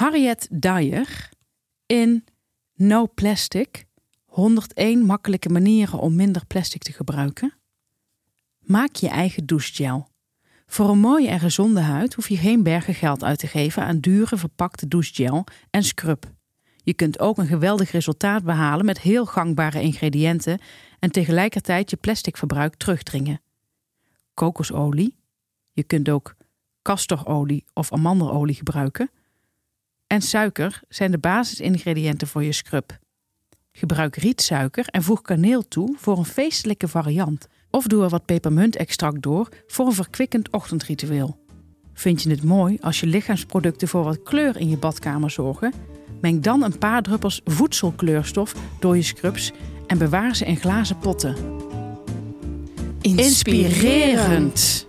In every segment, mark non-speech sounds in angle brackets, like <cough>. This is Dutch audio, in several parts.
Harriet Dyer in No Plastic. 101 makkelijke manieren om minder plastic te gebruiken. Maak je eigen douchegel. Voor een mooie en gezonde huid hoef je geen bergen geld uit te geven aan dure verpakte douchegel en scrub. Je kunt ook een geweldig resultaat behalen met heel gangbare ingrediënten en tegelijkertijd je plasticverbruik terugdringen. Kokosolie. Je kunt ook castorolie of amandelolie gebruiken. En suiker zijn de basisingrediënten voor je scrub. Gebruik rietsuiker en voeg kaneel toe voor een feestelijke variant. Of doe er wat pepermuntextract door voor een verkwikkend ochtendritueel. Vind je het mooi als je lichaamsproducten voor wat kleur in je badkamer zorgen? Meng dan een paar druppels voedselkleurstof door je scrubs en bewaar ze in glazen potten. Inspirerend!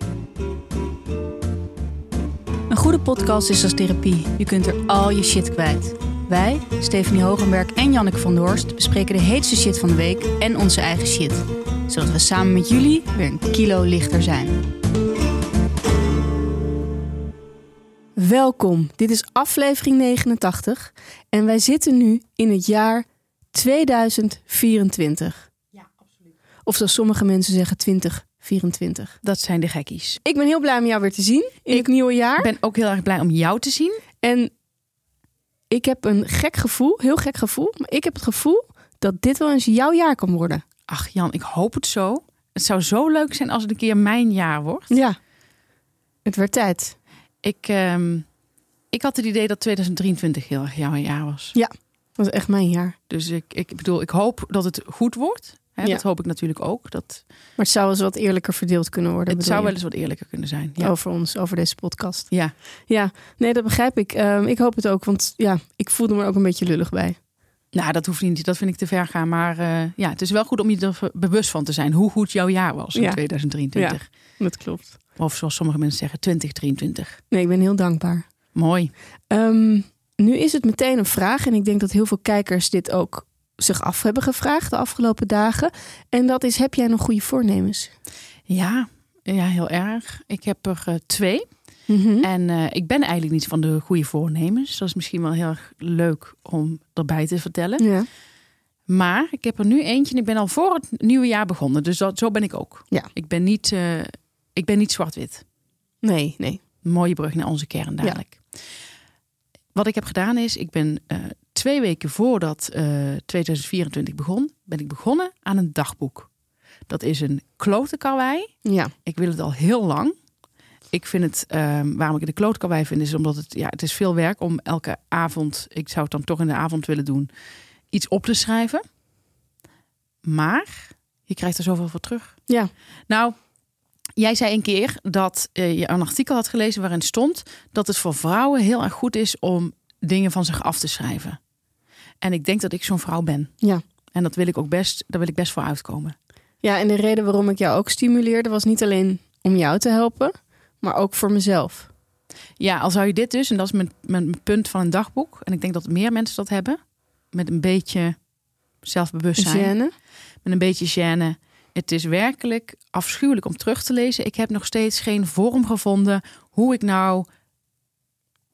Een goede podcast is als therapie. Je kunt er al je shit kwijt. Wij, Stephanie Hogenberg en Janneke van Doorst, bespreken de heetste shit van de week en onze eigen shit. Zodat we samen met jullie weer een kilo lichter zijn. Welkom, dit is aflevering 89 en wij zitten nu in het jaar 2024. Ja, absoluut. Of zoals sommige mensen zeggen 2024. Dat zijn de gekkies. Ik ben heel blij om jou weer te zien in het nieuwe Ik jaar. ben ook heel erg blij om jou te zien. En ik heb een gek gevoel, heel gek gevoel, maar ik heb het gevoel dat dit wel eens jouw jaar kan worden. Ach Jan, ik hoop het zo. Het zou zo leuk zijn als het een keer mijn jaar wordt. Ja. Het werd tijd. Ik, ehm, ik had het idee dat 2023 heel erg jouw jaar was. Dat was echt mijn jaar. Dus ik, ik bedoel, ik hoop dat het goed wordt. Hè, Ja. Dat hoop ik natuurlijk ook. Dat, Maar het zou wel eens wat eerlijker verdeeld kunnen worden. het bedoel zou je? wel eens wat eerlijker kunnen zijn. Ja. over ons, over deze podcast. Ja. Ja, nee, dat begrijp ik. Ehm, ik hoop het ook, want ja, ik voelde me er ook een beetje lullig bij. Nou, dat hoeft niet. Dat vind ik te ver gaan. Maar eh, ja, het is wel goed om je er bewust van te zijn hoe goed jouw jaar was in Ja. 2023. Dat klopt. Of zoals sommige mensen zeggen, 2023. Nee, ik ben heel dankbaar. Mooi. Ehm, nu is het meteen een vraag, en ik denk dat heel veel kijkers dit ook zich af hebben gevraagd de afgelopen dagen. En dat is, heb jij nog goede voornemens? Ja, ja heel erg. Ik heb er eh, twee. Mhm. En eh, ik ben eigenlijk niet van de goede voornemens. Dat is misschien wel heel erg leuk om erbij te vertellen. Ja. Maar ik heb er nu eentje en ik ben al voor het nieuwe jaar begonnen. Dus dat, zo ben ik ook. Ja. Ik ben niet, eh, ik ben niet zwart-wit. Nee, nee. Mooie brug naar onze kern dadelijk. Wat ik heb gedaan is, ik ben eh, twee weken voordat eh, 2024 begon... ben ik begonnen aan een dagboek. Dat is een klote karwei. Ja, Ik wil het al heel lang. Ik vind het, ehm, waarom ik de kloot kan bij vind, is omdat het, ja, het is veel werk om elke avond, ik zou het dan toch in de avond willen doen, iets op te schrijven. Maar je krijgt er zoveel voor terug. Ja. Nou, jij zei een keer dat eh, je een artikel had gelezen waarin stond dat het voor vrouwen heel erg goed is om dingen van zich af te schrijven. En ik denk dat ik zo'n vrouw ben. Ja. En dat wil ik ook best, daar wil ik best voor uitkomen. ja en de reden waarom ik jou ook stimuleerde was niet alleen om jou te helpen, maar ook voor mezelf. Ja, al zou je dit dus, en dat is mijn, mijn punt van een dagboek, en ik denk dat meer mensen dat hebben, met een beetje zelfbewustzijn, Jeanne? met een beetje gêne. Het is werkelijk afschuwelijk om terug te lezen. Ik heb nog steeds geen vorm gevonden hoe ik nou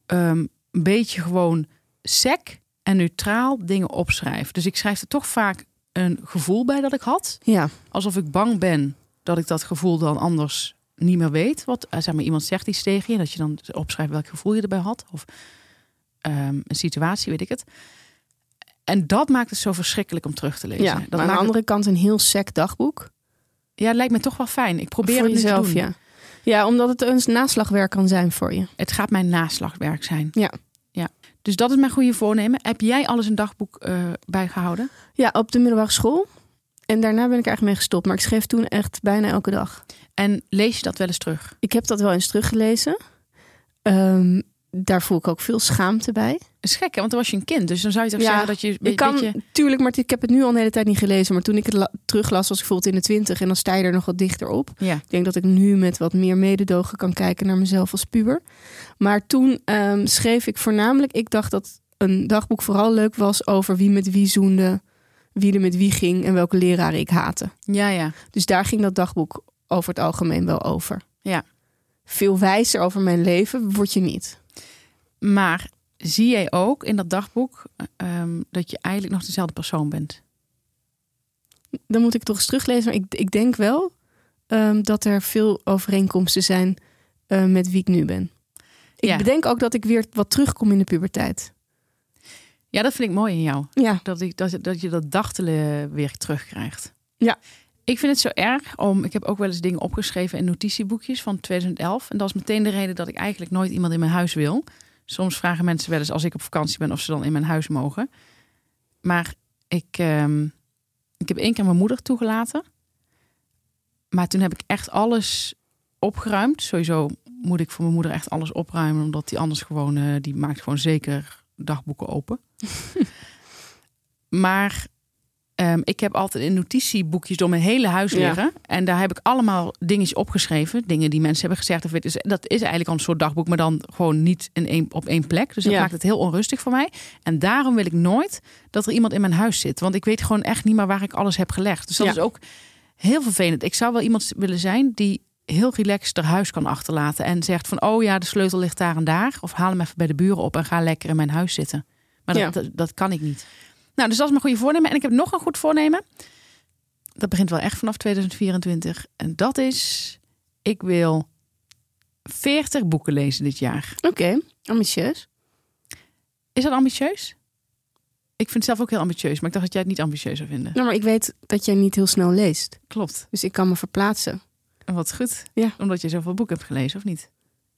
ehm, een beetje gewoon sec en neutraal dingen opschrijf. Dus ik schrijf er toch vaak een gevoel bij dat ik had Ja, alsof ik bang ben dat ik dat gevoel dan anders niet meer weet. Wat eh, zeg maar, iemand zegt iets tegen je, dat je dan opschrijft welk gevoel je erbij had. Of ehm, een situatie, weet ik het. En dat maakt het zo verschrikkelijk om terug te lezen. ja. dat Maar aan maakt de het- andere kant een heel sec dagboek. ja, het lijkt me toch wel fijn. Ik probeer voor het nu jezelf, te doen. ja. Ja, omdat het een naslagwerk kan zijn voor je. Het gaat mijn naslagwerk zijn. Ja. ja. Dus dat is mijn goede voornemen. Heb jij alles een dagboek eh, bijgehouden? Ja, op de middelbare school. En daarna ben ik eigenlijk mee gestopt. Maar ik schreef toen echt bijna elke dag. En lees je dat wel eens terug? Ik heb dat wel eens teruggelezen. Ehm, daar voel ik ook veel schaamte bij. Dat is gek, hè? want dan was je een kind. Dus dan zou je toch Ja, zeggen dat je een Ik kan, beetje... tuurlijk, maar ik heb het nu al een hele tijd niet gelezen. Maar toen ik het la- teruglas, was ik bijvoorbeeld in de twintig. En dan sta je er nog wat dichter op. Ja. Ik denk dat ik nu met wat meer mededogen kan kijken naar mezelf als puber. Maar toen ehm, schreef ik voornamelijk... Ik dacht dat een dagboek vooral leuk was over wie met wie zoende... wie er met wie ging en welke leraren ik haatte. ja, ja. Dus daar ging dat dagboek over het algemeen wel over. Ja. Veel wijzer over mijn leven word je niet. Maar zie jij ook in dat dagboek ehm, dat je eigenlijk nog dezelfde persoon bent. Dan moet ik toch eens teruglezen. Maar ik, ik denk wel ehm, dat er veel overeenkomsten zijn eh, met wie ik nu ben. Ik Ja. bedenk ook dat ik weer wat terugkom in de puberteit. Ja, dat vind ik mooi in jou. Ja, Dat, ik, dat, dat je dat dachtelen weer terugkrijgt. Ja. Ik vind het zo erg om. Ik heb ook wel eens dingen opgeschreven in notitieboekjes van 2011. En dat is meteen de reden dat ik eigenlijk nooit iemand in mijn huis wil. Soms vragen mensen wel eens als ik op vakantie ben of ze dan in mijn huis mogen. Maar ik, ehm, ik heb één keer mijn moeder toegelaten. Maar toen heb ik echt alles opgeruimd. Sowieso moet ik voor mijn moeder echt alles opruimen. Omdat die anders gewoon. eh, die maakt gewoon zeker dagboeken open. Maar ehm, ik heb altijd in notitieboekjes door mijn hele huis Ja. liggen. En daar heb ik allemaal dingetjes opgeschreven. Dingen die mensen hebben gezegd. Of weet, dus dat is eigenlijk al een soort dagboek, maar dan gewoon niet in één, op één plek. Dus dat Ja. maakt het heel onrustig voor mij. En daarom wil ik nooit dat er iemand in mijn huis zit. Want ik weet gewoon echt niet meer waar ik alles heb gelegd. Dus dat Ja. is ook heel vervelend. Ik zou wel iemand willen zijn die heel relaxed haar huis kan achterlaten. En zegt van, oh ja, de sleutel ligt daar en daar. Of haal hem even bij de buren op en ga lekker in mijn huis zitten. Maar dat, Ja. dat, dat kan ik niet. Nou, dus dat is mijn goede voornemen. En ik heb nog een goed voornemen. Dat begint wel echt vanaf 2024. En dat is, ik wil 40 boeken lezen dit jaar. oké. Ambitieus. Is dat ambitieus? Ik vind het zelf ook heel ambitieus, maar ik dacht dat jij het niet ambitieus zou vinden. Nou, maar ik weet dat jij niet heel snel leest. Klopt. Dus ik kan me verplaatsen. En wat goed. Ja. Omdat je zoveel boeken hebt gelezen, of niet?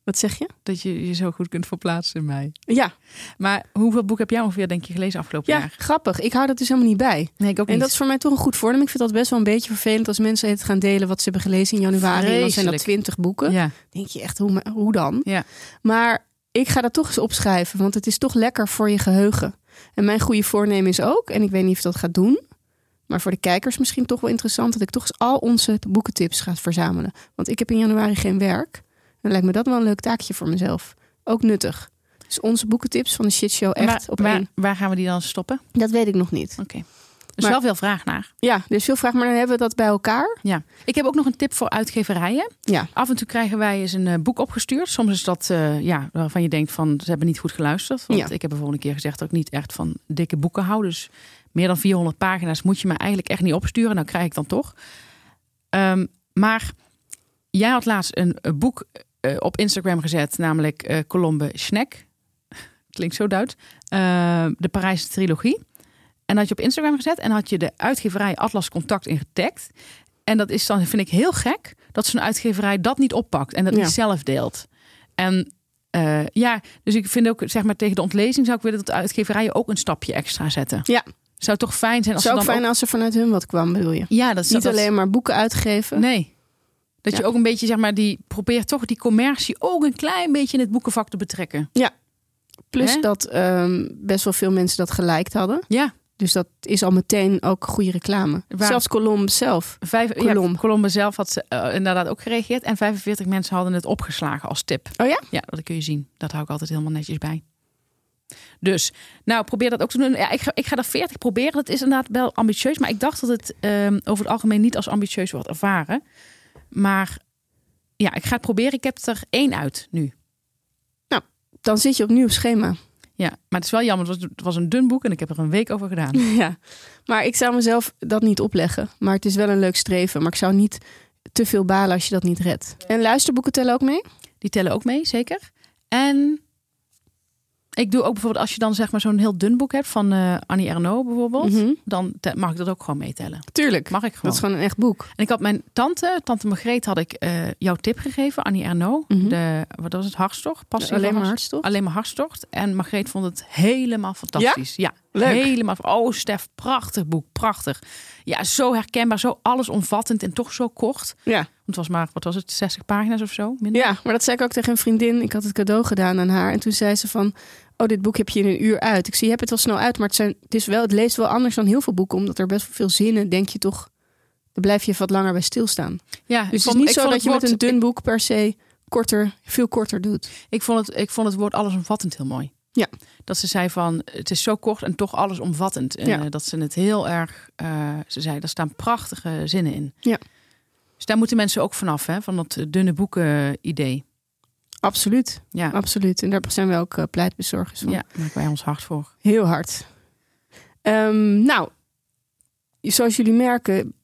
Wat zeg je? Dat je je zo goed kunt verplaatsen in mij. Ja, Maar hoeveel boeken heb jij ongeveer, denk je, gelezen afgelopen ja jaar? grappig. Ik hou dat dus helemaal niet bij. Nee, ik ook En dat is voor mij toch een goed voornemen. Ik vind dat best wel een beetje vervelend als mensen het gaan delen wat ze hebben gelezen in januari. En dan zijn dat Vreselijk. twintig boeken. Ja. denk je echt, hoe, hoe dan? Ja. Maar ik ga dat toch eens opschrijven, want het is toch lekker voor je geheugen. En mijn goede voornemen is ook, en ik weet niet of dat gaat doen, maar voor de kijkers misschien toch wel interessant, dat ik toch eens al onze boekentips ga verzamelen. Want ik heb in januari geen werk. Dan lijkt me dat wel een leuk taakje voor mezelf. Ook nuttig. Dus onze boekentips van de shitshow echt Maar op waar, één. waar gaan we die dan stoppen? Dat weet ik nog niet. Er is Maar- wel veel vraag naar. Ja, dus veel vraag, maar dan hebben we dat bij elkaar. Ja, ik heb ook nog een tip voor uitgeverijen. Ja. Af en toe krijgen wij eens een eh, boek opgestuurd. Soms is dat eh, ja, waarvan je denkt van ze hebben niet goed geluisterd. Want Ja. ik heb bijvoorbeeld een keer gezegd dat ik niet echt van dikke boeken hou. Dus meer dan 400 pagina's moet je me eigenlijk echt niet opsturen. Nou krijg ik dan toch. Ehm, maar jij had laatst een, eh, boek eh, op Instagram gezet, namelijk eh Colombe Snack. <laughs> Klinkt zo Duits. Eh, de Parijse trilogie. En had je op Instagram gezet en had je de uitgeverij Atlas Contact in getagd. En dat is dan, vind ik heel gek, dat zo'n uitgeverij dat niet oppakt en dat Ja. niet zelf deelt. En eh, ja, dus ik vind ook, zeg maar, tegen de ontlezing zou ik willen dat de uitgeverijen ook een stapje extra zetten. Ja. Zou toch fijn zijn als Zou ook ze dan fijn als er vanuit hun wat kwam, bedoel je? ook- Ja, dat Niet dat- alleen maar boeken uitgeven. Nee. Dat Ja. je ook een beetje, zeg maar, die probeert toch die commercie ook een klein beetje in het boekenvak te betrekken. Plus Hè? dat ehm, best wel veel mensen dat geliked hadden. Ja, Dus dat is al meteen ook goede reclame. Waar- Zelfs Columbus zelf. vijf, Colombe. ja Colombe zelf had ze, eh, inderdaad ook gereageerd. En 45 mensen hadden het opgeslagen als tip. Oh ja? Ja, dat kun je zien. Dat hou ik altijd helemaal netjes bij. Dus, nou, probeer dat ook te doen. Ja, ik, ga, ik ga er 40 proberen. Dat is inderdaad wel ambitieus. Maar ik dacht dat het ehm, over het algemeen niet als ambitieus wordt ervaren. Maar ja, ik ga het proberen. Ik heb er één uit nu. Dan zit je opnieuw op <laughs> schema. Ja, maar het is wel jammer. Het was, het was een dun boek en ik heb er een week over gedaan. Ja. Maar ik zou mezelf dat niet opleggen. Maar het is wel een leuk streven. Maar ik zou niet te veel balen als je dat niet redt. En luisterboeken tellen ook mee? Die tellen ook mee, zeker. En ik doe ook bijvoorbeeld als je dan zeg maar zo'n heel dun boek hebt van eh, Annie Ernaux bijvoorbeeld. Mhm. Dan te- mag ik dat ook gewoon meetellen. Tuurlijk. Mag ik Dat gewoon. is gewoon een echt boek. En ik had mijn tante, tante Margreet, had ik eh, jouw tip gegeven. Annie Ernaux. Mhm. de, wat was het? Hartstocht? Passie Alleen van maar Hartstocht? hartstocht. Alleen maar hartstocht. En Margreet vond het helemaal fantastisch. Ja, Leuk. helemaal. Oh, Stef, prachtig boek, prachtig. Ja, zo herkenbaar, zo allesomvattend en toch zo kort. Ja. Want het was maar, wat was het, 60 pagina's of zo? Minder? Ja, maar dat zei ik ook tegen een vriendin. Ik had het cadeau gedaan aan haar. En toen zei ze van, oh, dit boek heb je in een uur uit. Ik zie, je hebt het wel snel uit, maar het, zijn, het, is wel, het leest wel anders dan heel veel boeken. Omdat er best wel veel zinnen, denk je toch, daar blijf je even wat langer bij stilstaan. Ja, ik Dus het vond- is niet ik zo vond dat je het met een woord- dun boek per se korter, veel korter doet. Ik vond het, ik vond het woord allesomvattend heel mooi. Ja. Dat ze zei van, het is zo kort en toch allesomvattend. En Ja. eh, dat ze het heel erg, eh, ze zei, daar staan prachtige zinnen in. Ja. eh, Dus daar moeten mensen ook vanaf, hè, van dat dunne boeken idee. Absoluut, Ja, absoluut. En daar zijn we ook eh, pleitbezorgers van. ja maken wij ons hard voor. Heel hard. Ehm, nou, zoals jullie merken,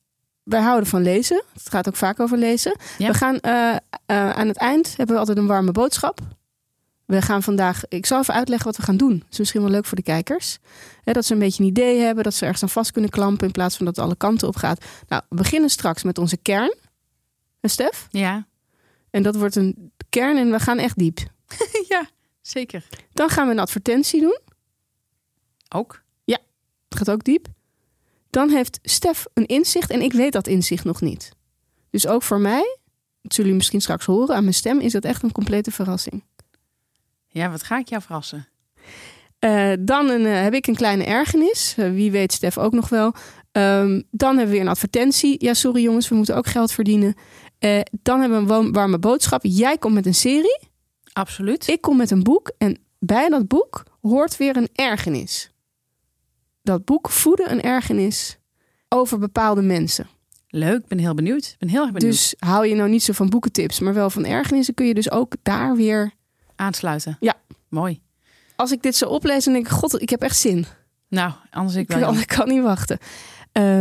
wij houden van lezen. Het gaat ook vaak over lezen. Ja. We gaan eh, eh, aan het eind hebben we altijd een warme boodschap. We gaan vandaag, ik zal even uitleggen wat we gaan doen. is misschien wel leuk voor de kijkers. Hè, dat ze een beetje een idee hebben, dat ze ergens aan vast kunnen klampen in plaats van dat het alle kanten op gaat. Nou, we beginnen straks met onze kern. Hè, Stef? Ja, En dat wordt een kern en we gaan echt diep. ja zeker. Dan gaan we een advertentie doen. Ook. Het gaat ook diep. Dan heeft Stef een inzicht en ik weet dat inzicht nog niet. Dus ook voor mij, dat zullen jullie misschien straks horen aan mijn stem, is dat echt een complete verrassing. Ja, wat ga ik jou verrassen? Eh, dan een, eh, heb ik een kleine ergernis. Eh, wie weet Stef ook nog wel. Ehm, dan hebben we weer een advertentie. Ja, sorry jongens, we moeten ook geld verdienen. Eh, dan hebben we een warm- warme boodschap. Jij komt met een serie, Absoluut. ik kom met een boek. En bij dat boek hoort weer een ergernis. Dat boek voedde een ergernis over bepaalde mensen. Leuk, ik ben heel benieuwd. Ik ben heel erg benieuwd. Dus hou je nou niet zo van boekentips, maar wel van ergernissen, kun je dus ook daar weer. Aansluiten. Ja. Mooi. Als ik dit zo oplees, dan denk ik: God, ik heb echt zin. Nou, anders ik Ik wel. kan, Jan. <laughs> ik kan niet wachten. Ehm,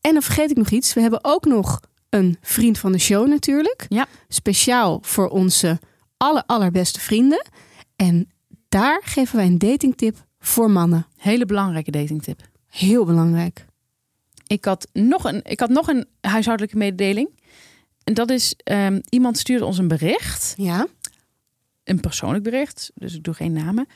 en dan vergeet ik nog iets. We hebben ook nog een vriend van de show natuurlijk. Ja. Speciaal voor onze aller, allerbeste vrienden. En daar geven wij een datingtip voor mannen. Hele belangrijke datingtip. Heel belangrijk. Ik had nog een, ik had nog een huishoudelijke mededeling. En dat is, ehm, iemand stuurde ons een bericht. Ja. Een persoonlijk bericht, dus ik doe geen namen.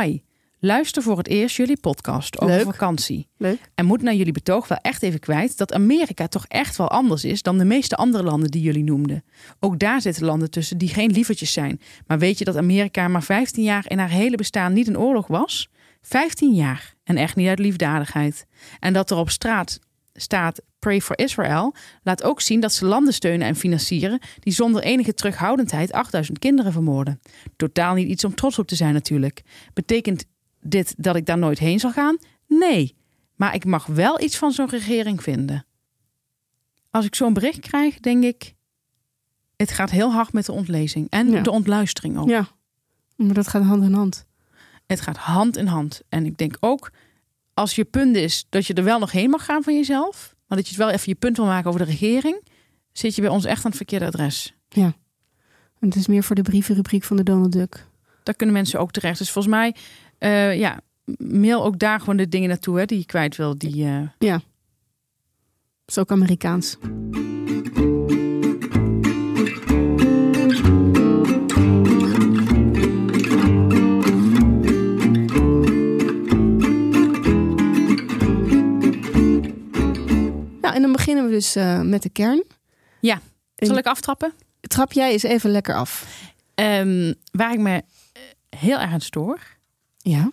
Hi, luister voor het eerst jullie podcast over Leuk. vakantie. Leuk. En moet naar jullie betoog wel echt even kwijt dat Amerika toch echt wel anders is dan de meeste andere landen die jullie noemden. Ook daar zitten landen tussen die geen lievertjes zijn. Maar weet je dat Amerika maar 15 jaar in haar hele bestaan niet in oorlog was? 15 jaar en echt niet uit liefdadigheid. En dat er op straat staat Pray for Israel laat ook zien dat ze landen steunen en financieren die zonder enige terughoudendheid 8000 kinderen vermoorden. Totaal niet iets om trots op te zijn natuurlijk. Betekent dit dat ik daar nooit heen zal gaan? Nee, maar ik mag wel iets van zo'n regering vinden. Als ik zo'n bericht krijg, denk ik, het gaat heel hard met de ontlezing en Ja. de ontluistering ook. Ja. Maar dat gaat hand in hand. Het gaat hand in hand. En ik denk ook, als je punt is dat je er wel nog heen mag gaan van jezelf, maar dat je het wel even je punt wil maken over de regering, zit je bij ons echt aan het verkeerde adres. Het is meer voor de brievenrubriek van de Donald Duck. Daar kunnen mensen ook terecht. Dus volgens mij, eh, ja, mail ook daar gewoon de dingen naartoe hè, die je kwijt wil. Die, eh, Dat is ook Amerikaans. Nou, Nou, en dan beginnen we dus eh, met de kern. Ja. En Zal ik aftrappen? Trap jij eens even lekker af. Ehm, waar ik me eh, heel erg aan stoor, Ja.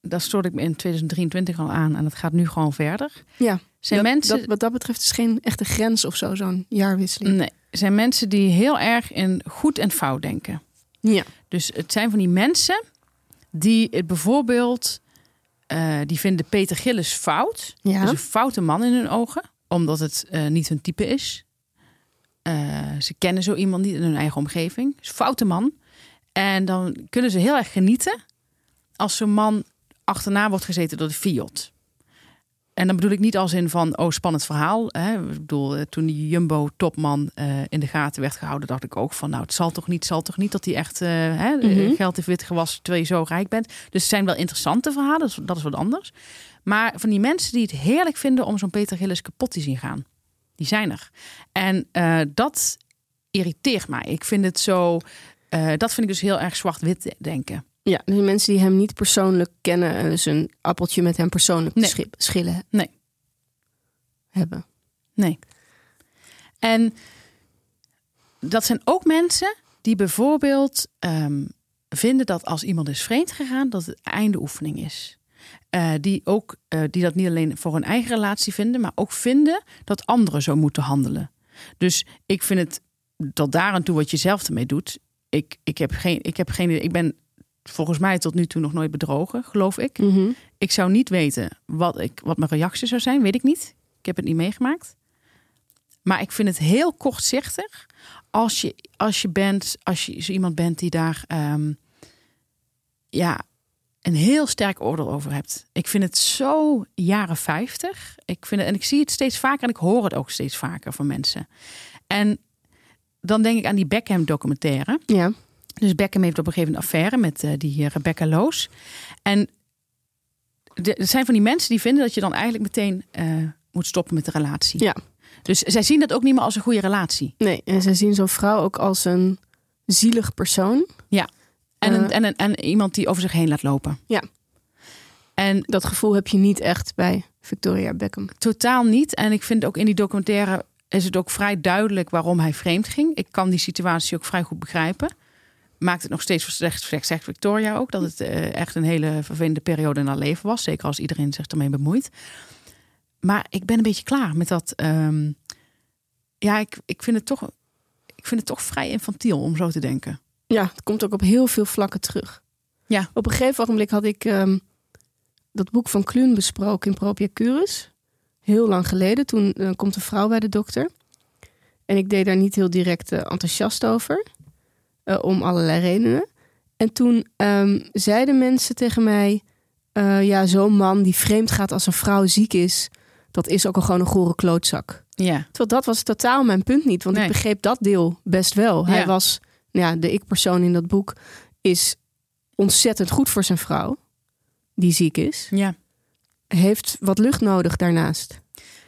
dat stoorde ik me in 2023 al aan en dat gaat nu gewoon verder. Ja, Zijn dat, mensen. dat- wat dat betreft is geen echte grens of zo, zo'n jaarwisseling. Nee, zijn mensen die heel erg in goed en fout denken. Ja. Dus het zijn van die mensen die het bijvoorbeeld. eh, die vinden Peter Gillis fout. Ja. Dus een foute man in hun ogen, omdat het eh, niet hun type is. Eh, ze kennen zo iemand niet in hun eigen omgeving. Is een foute man. En dan kunnen ze heel erg genieten als zo'n man achterna wordt gezeten door de Fiat. En dan bedoel ik niet als in van, oh, spannend verhaal. Hè. Ik bedoel, eh, toen die Jumbo-topman eh, in de gaten werd gehouden, dacht ik ook van, nou, het zal toch niet, zal toch niet dat hij echt eh, hè, Mhm. geld heeft wit gewassen terwijl je zo rijk bent. Dus het zijn wel interessante verhalen, dat is- dat is wat anders. Maar van die mensen die het heerlijk vinden om zo'n Peter Gillis kapot te zien gaan. Die zijn er. En eh, dat irriteert mij. Ik vind het zo. eh, dat vind ik dus heel erg zwart-wit denken. Ja, dus mensen die hem niet persoonlijk kennen, eh, dus een appeltje met hem persoonlijk te Nee. schip- schillen Nee. hebben. En dat zijn ook mensen die bijvoorbeeld ehm, vinden dat als iemand is vreemd gegaan, dat het einde oefening is. Eh, die, ook, eh, die dat niet alleen voor hun eigen relatie vinden, maar ook vinden dat anderen zo moeten handelen. Dus ik vind het tot daar aan toe wat je zelf ermee doet. Ik, ik, heb geen, ik, heb geen, ik ben volgens mij tot nu toe nog nooit bedrogen, geloof ik. Mm. Mhm. Ik zou niet weten wat, ik, wat mijn reactie zou zijn, weet ik niet. Ik heb het niet meegemaakt. Maar ik vind het heel kortzichtig als je, als je, bent, als je zo iemand bent die daar ehm, ja, een heel sterk oordeel over hebt. Ik vind het zo jaren 50. Ik vind het, en ik zie het steeds vaker en ik hoor het ook steeds vaker van mensen. En dan denk ik aan die Beckham documentaire. Ja. Dus Beckham heeft op een gegeven moment een affaire met eh, die eh, Rebecca Loos. En de- er zijn van die mensen die vinden dat je dan eigenlijk meteen eh, moet stoppen met de relatie. Ja. Dus zij zien dat ook niet meer als een goede relatie. Nee, en zij zien zo'n vrouw ook als een zielig persoon. En, een, Eh. en, een, en iemand die over zich heen laat lopen. Ja. En Dat gevoel heb je niet echt bij Victoria Beckham. Totaal niet. En ik vind ook in die documentaire is het ook vrij duidelijk waarom hij vreemd ging. Ik kan die situatie ook vrij goed begrijpen. Maakt het nog steeds slecht, slecht zegt Victoria ook, dat het eh, echt een hele vervelende periode in haar leven was. Zeker als iedereen zich ermee bemoeit. Maar ik ben een beetje klaar met dat. ehm, ja, ik, ik, vind het toch, ik vind het toch vrij infantiel om zo te denken. Ja, het komt ook op heel veel vlakken terug. Ja. Op een gegeven ogenblik had ik ehm, dat boek van Kluun besproken in Propia Curus. Heel lang geleden. Toen eh, komt een vrouw bij de dokter. En ik deed daar niet heel direct eh, enthousiast over. eh, om allerlei redenen. En toen ehm, zeiden mensen tegen mij... eh, ja, zo'n man die vreemd gaat als een vrouw ziek is... dat is ook al gewoon een gore klootzak. Ja, Terwijl dat was totaal mijn punt niet. Want Nee. ik begreep dat deel best wel. Ja. Hij was, nou ja, de ik-persoon in dat boek is ontzettend goed voor zijn vrouw. Die ziek is. ja. Heeft wat lucht nodig daarnaast.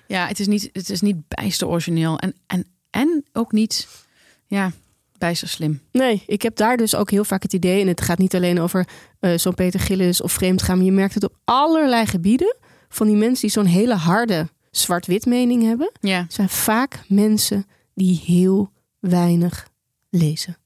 ja het, is niet, het is niet bijster origineel. En, en, en ook niet ja, bijster slim. Nee, ik heb daar dus ook heel vaak het idee. En het gaat niet alleen over eh, zo'n Peter Gillis of vreemdgaan. Maar je merkt het op allerlei gebieden. Van die mensen die zo'n hele harde zwart-wit mening hebben. Ja, zijn vaak mensen die heel weinig lezen.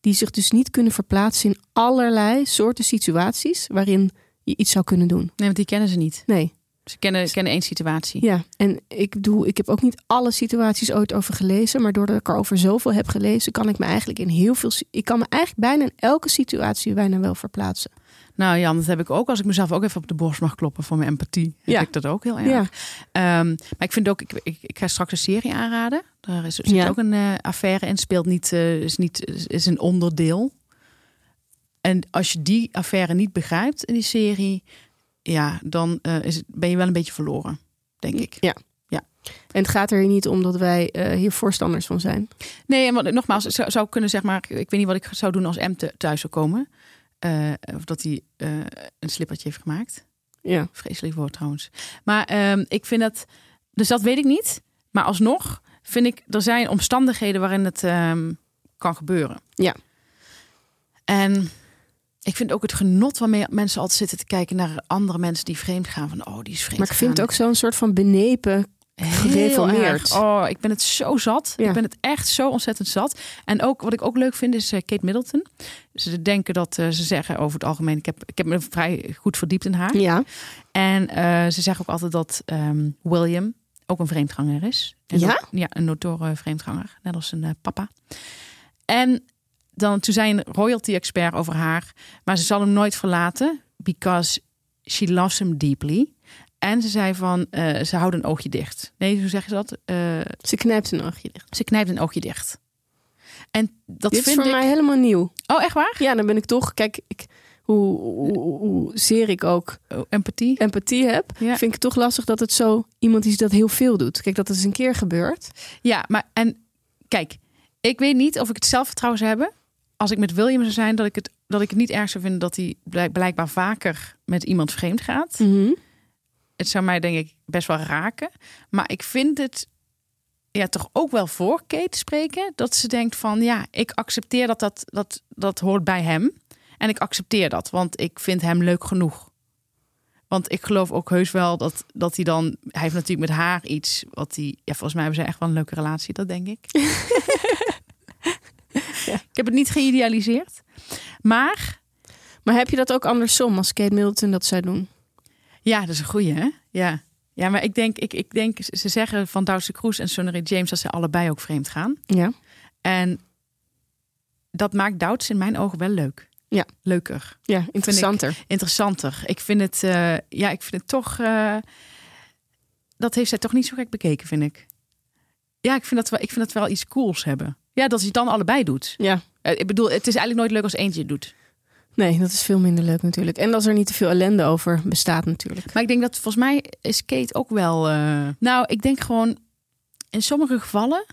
Die zich dus niet kunnen verplaatsen in allerlei soorten situaties waarin je iets zou kunnen doen. nee, want die kennen ze niet. Nee, Ze kennen, kennen één situatie. ja. En ik, doe, ik heb ook niet alle situaties ooit over gelezen, maar doordat ik er over zoveel heb gelezen, kan ik me eigenlijk in heel veel. si- Ik kan me eigenlijk bijna in elke situatie bijna wel verplaatsen. Nou Jan, dat heb ik ook. Als ik mezelf ook even op de borst mag kloppen voor mijn empathie, heb Ja. ik dat ook heel erg. Ja, Ehm, maar ik vind ook, ik, ik, ik ga straks een serie aanraden. Daar is, zit Ja. ook een eh, affaire in, speelt niet, eh, is niet, is- is een onderdeel. En als je die affaire niet begrijpt in die serie, ja, dan eh, is, het- ben je wel een beetje verloren, denk ik. Ja. En het gaat er hier niet om dat wij eh, hier voorstanders van zijn. Nee, en wat, nogmaals, ik zou, zou kunnen zeg maar, ik weet niet wat ik zou doen als M te- thuis zou komen. Eh, of dat hij eh, een slippertje heeft gemaakt. Ja. Vreselijk woord trouwens. Maar ehm, ik vind dat. Dus dat weet ik niet. Maar alsnog vind ik. Er zijn omstandigheden waarin het ehm, kan gebeuren. Ja. En ik vind ook het genot waarmee mensen altijd zitten te kijken naar andere mensen die vreemd gaan. Van oh, die is vreemd. Maar ik vind het gegaan. ook zo'n soort van benepen. Heel gereformeerd. erg. Oh, ik ben het zo zat. Ja. Ik ben het echt zo ontzettend zat. En ook wat ik ook leuk vind is eh, Kate Middleton. Ze denken dat eh, ze zeggen over het algemeen. Ik heb, ik heb me vrij goed verdiept in haar. Ja. En eh, ze zeggen ook altijd dat ehm, William ook een vreemdganger is. En Ja? dat- ja, een notoire vreemdganger. Net als zijn eh, papa. En dan, toen zei een royalty-expert over haar... maar ze zal hem nooit verlaten, because she loves him deeply. En ze zei van, eh, ze houdt een oogje dicht. Nee, hoe zeggen ze dat? Eh, Ze knijpt een oogje dicht. ze knijpt een oogje dicht. En dat Dit is vind voor ik... mij helemaal nieuw. Oh, echt waar? Ja, dan ben ik toch, kijk, ik, hoe, hoe, hoe- hoe zeer ik ook Oh, empathie. empathie heb, Ja. vind ik het toch lastig dat het zo iemand is die dat heel veel doet. Kijk, dat is een keer gebeurd. Ja, maar en kijk, ik weet niet of ik het zelfvertrouwen zou hebben als ik met William zou zijn dat ik het dat ik het niet erg zou vinden dat hij blijk- blijkbaar vaker met iemand vreemd gaat. Mhm. Het zou mij denk ik best wel raken, maar ik vind het ja toch ook wel voor Kate spreken dat ze denkt van ja, ik accepteer dat dat dat dat hoort bij hem en ik accepteer dat, want ik vind hem leuk genoeg. Want ik geloof ook heus wel dat, dat hij dan... Hij heeft natuurlijk met haar iets wat hij... Ja, volgens mij hebben ze echt wel een leuke relatie, dat denk ik. Ik heb het niet geïdealiseerd. Maar, Maar heb je dat ook andersom als Kate Middleton dat zou doen? ja, dat is een goeie, hè? Ja, ja maar ik denk, ik, ik denk, ze zeggen van Douze Kroes en Sonnery James dat ze allebei ook vreemd gaan. Ja. En dat maakt Douds in mijn ogen wel leuk. Ja. Leuker, Ja, interessanter. interessanter. Ik vind het, eh, ja, ik vind het toch, eh, dat heeft zij toch niet zo gek bekeken, vind ik. Ja, ik vind, dat wel, ik vind dat wel iets cools hebben. Ja, dat je het dan allebei doet. Ja. Eh, Ik bedoel, het is eigenlijk nooit leuk als eentje het doet. Nee, dat is veel minder leuk natuurlijk. En als er niet te veel ellende over bestaat natuurlijk. Maar ik denk dat volgens mij is Kate ook wel. eh, Nou, ik denk gewoon in sommige gevallen.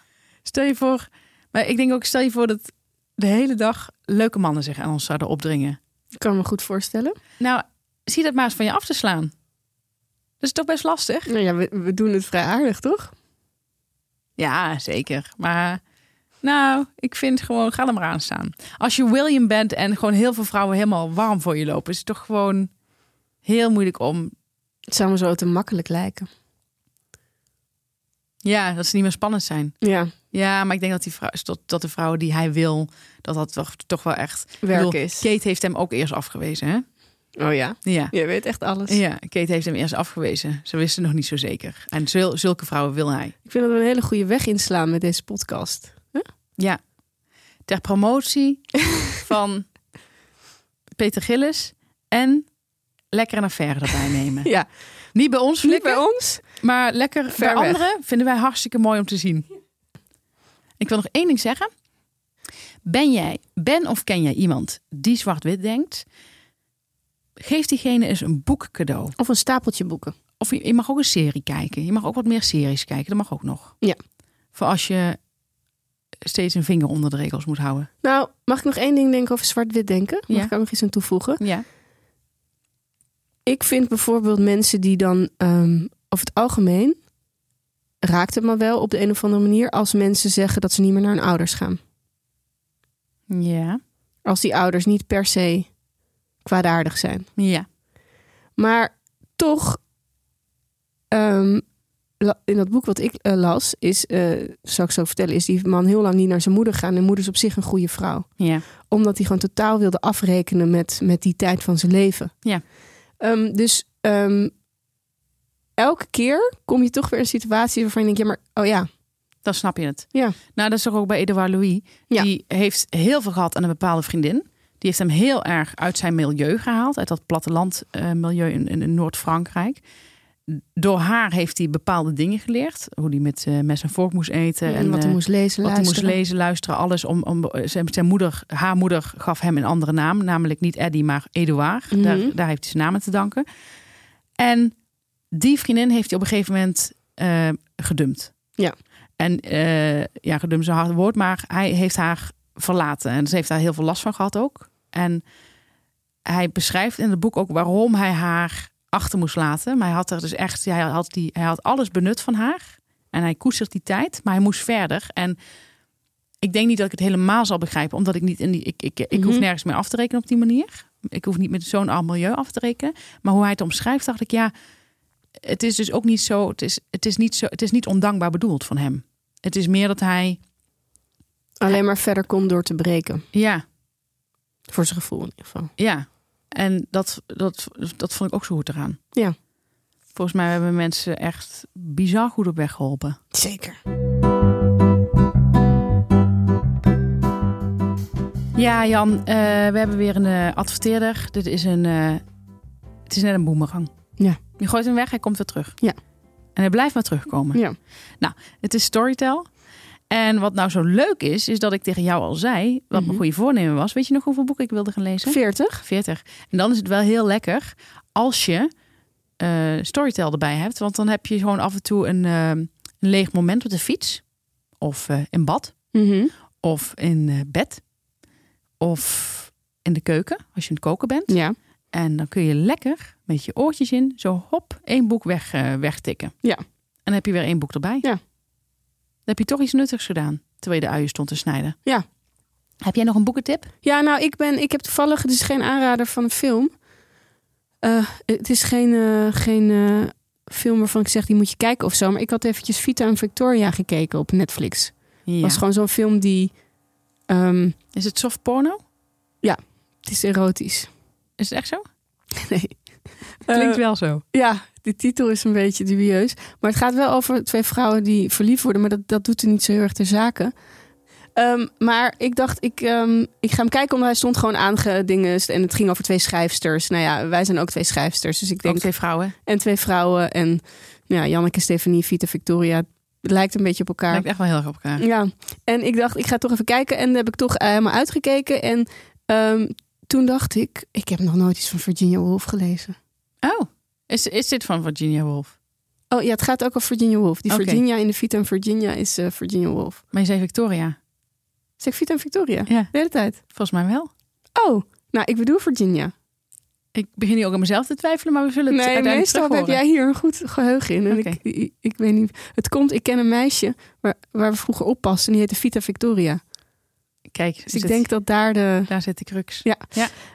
Stel je voor. Maar ik denk ook, stel je voor dat de hele dag leuke mannen zich aan ons zouden opdringen. Ik kan me goed voorstellen. Nou, zie dat maar eens van je af te slaan. Dat is toch best lastig? Nou ja, we, we doen het vrij aardig, toch? Ja, zeker. Maar nou, ik vind gewoon, ga er maar aan staan. Als je William bent en gewoon heel veel vrouwen helemaal warm voor je lopen, is het toch gewoon heel moeilijk om. Het zou me zo te makkelijk lijken. Ja, dat ze niet meer spannend zijn. Ja, Ja, maar ik denk dat, die vrouw, dat, dat de vrouwen die hij wil, dat dat toch, toch wel echt... Ik werk bedoel, is. Kate heeft hem ook eerst afgewezen, hè? Oh ja, Ja. je weet echt alles. Ja, Kate heeft hem eerst afgewezen. Ze wisten nog niet zo zeker. En zul- zulke vrouwen wil hij. Ik vind dat we een hele goede weg inslaan met deze podcast. Ja. Ter promotie <laughs> van Peter Gillis en lekker een affaire erbij nemen. Ja, Niet bij ons niet flikken, bij ons. maar lekker Ver bij weg. anderen vinden wij hartstikke mooi om te zien. Ik wil nog één ding zeggen. Ben jij, ben of ken jij iemand die zwart-wit denkt? Geef diegene eens een boek cadeau. Of een stapeltje boeken. Of je, je mag ook een serie kijken. Je mag ook wat meer series kijken. Dat mag ook nog. Ja. Voor als je steeds een vinger onder de regels moet houden. Nou, mag ik nog één ding denken over zwart-wit denken? Mag Ja. ik ook nog iets aan toevoegen? Ja. Ik vind bijvoorbeeld mensen die dan ehm, over het algemeen raakt het me wel op de een of andere manier als mensen zeggen dat ze niet meer naar hun ouders gaan. Ja. Als die ouders niet per se kwaadaardig zijn. Ja. Maar toch, ehm, la- in dat boek wat ik eh, las, is, eh zal ik zo vertellen, is die man heel lang niet naar zijn moeder gaan. En moeder is op zich een goede vrouw. Ja. Omdat hij gewoon totaal wilde afrekenen met, met die tijd van zijn leven. Ja. Ehm, dus ehm, elke keer kom je toch weer in situaties waarvan je denkt, ja, maar oh ja, Dan snap je het. Ja. Nou, dat is toch ook bij Edouard Louis. Ja. Die heeft heel veel gehad aan een bepaalde vriendin. Die heeft hem heel erg uit zijn milieu gehaald. Uit dat platteland eh, milieu in, in, in Noord-Frankrijk. Door haar heeft hij bepaalde dingen geleerd. Hoe hij met eh, mes en vork moest eten. en wat eh, hij moest lezen, Wat hij moest luisteren. lezen, luisteren, alles. Om, om, eh, zijn, zijn moeder, haar moeder gaf hem een andere naam. Namelijk niet Eddie, maar Edouard. Mhm. daar, daar heeft hij zijn naam aan te danken. En die vriendin heeft hij op een gegeven moment eh, gedumpt. Ja. En eh, ja, gedumpt is een hard woord. Maar hij heeft haar verlaten. En ze heeft daar heel veel last van gehad ook. En hij beschrijft in het boek ook waarom hij haar achter moest laten. Maar hij had er dus echt, hij had, die, hij had alles benut van haar. En hij koestert die tijd, maar hij moest verder. En ik denk niet dat ik het helemaal zal begrijpen, omdat ik niet in die. Ik, ik, ik hoef Mhm. nergens meer af te rekenen op die manier. Ik hoef niet met zo'n arm milieu af te rekenen. Maar hoe hij het omschrijft, dacht ik, ja, het is dus ook niet zo. Het is, het is, niet, zo, het is niet ondankbaar bedoeld van hem. Het is meer dat hij. Alleen maar verder komt door te breken. Ja, Voor zijn gevoel in ieder geval. Ja, en dat, dat, dat vond ik ook zo goed eraan. Ja. Volgens mij hebben mensen echt bizar goed op weg geholpen. Zeker. Ja, Jan, eh, we hebben weer een eh, adverteerder. Dit is een. eh, het is net een boemerang. Ja. Je gooit hem weg, hij komt weer terug. Ja. En hij blijft maar terugkomen. Nou, Ja. Het is Storytel. En wat nou zo leuk is, is dat ik tegen jou al zei, wat Mhm. mijn goede voornemen was. Weet je nog hoeveel boeken ik wilde gaan lezen? 40? 40. En dan is het wel heel lekker als je eh, Storytel erbij hebt. Want dan heb je gewoon af en toe een, eh, een leeg moment op de fiets. Of eh, in bad. Mhm. Of in eh, bed. Of in de keuken, als je aan het koken bent. Ja. En dan kun je lekker met je oortjes in zo hop één boek weg, eh, wegtikken. Ja. En dan heb je weer één boek erbij. Ja. Dan heb je toch iets nuttigs gedaan. Terwijl je de uien stond te snijden. Ja. Heb jij nog een boekentip? Ja, nou, ik, ben, ik heb toevallig, het is geen aanrader van een film. Eh, het is geen, eh, geen eh, film waarvan ik zeg, die moet je kijken of zo. Maar ik had eventjes Vita en Victoria gekeken op Netflix. Het Ja. was gewoon zo'n film die... ehm, Is het soft porno? het is erotisch. Is het echt zo? <laughs> nee. Eh, wel zo. Ja, de titel is een beetje dubieus. Maar het gaat wel over twee vrouwen die verliefd worden. Maar dat, dat doet er niet zo heel erg ter zake. Ehm, maar ik dacht, ik, ehm, ik ga hem kijken. Omdat hij stond gewoon aangedingest. En het ging over twee schrijfsters. Nou ja, wij zijn ook twee schrijfsters. Dus ik denk... Ook twee vrouwen. En twee vrouwen. En nou ja, Janneke, Stefanie, Vita, Victoria. Het lijkt een beetje op elkaar. Lijkt echt wel heel eh. erg op elkaar. Ja, en ik dacht, ik ga toch even kijken. En daar heb ik toch eh, helemaal uitgekeken. En ehm, toen dacht ik, ik heb nog nooit iets van Virginia Woolf gelezen. Oh, is, is dit van Virginia Woolf? Oh ja, het gaat ook over Virginia Woolf. Die Oké. Virginia in de Vita en Virginia is eh, Virginia Woolf. Maar je zei Victoria. Zeg Vita en Victoria? Ja, De hele tijd. volgens mij wel. Oh, nou ik bedoel Virginia. Ik begin nu ook aan mezelf te twijfelen, maar we zullen het nee, uiteindelijk meestal heb terughoren. jij hier een goed geheugen in. En Oké. ik, ik, ik weet niet. Het komt, ik ken een meisje waar, waar we vroeger oppasten. En die heette Vita Victoria. Kijk, Dus zit- ik denk dat daar de... daar zit de crux.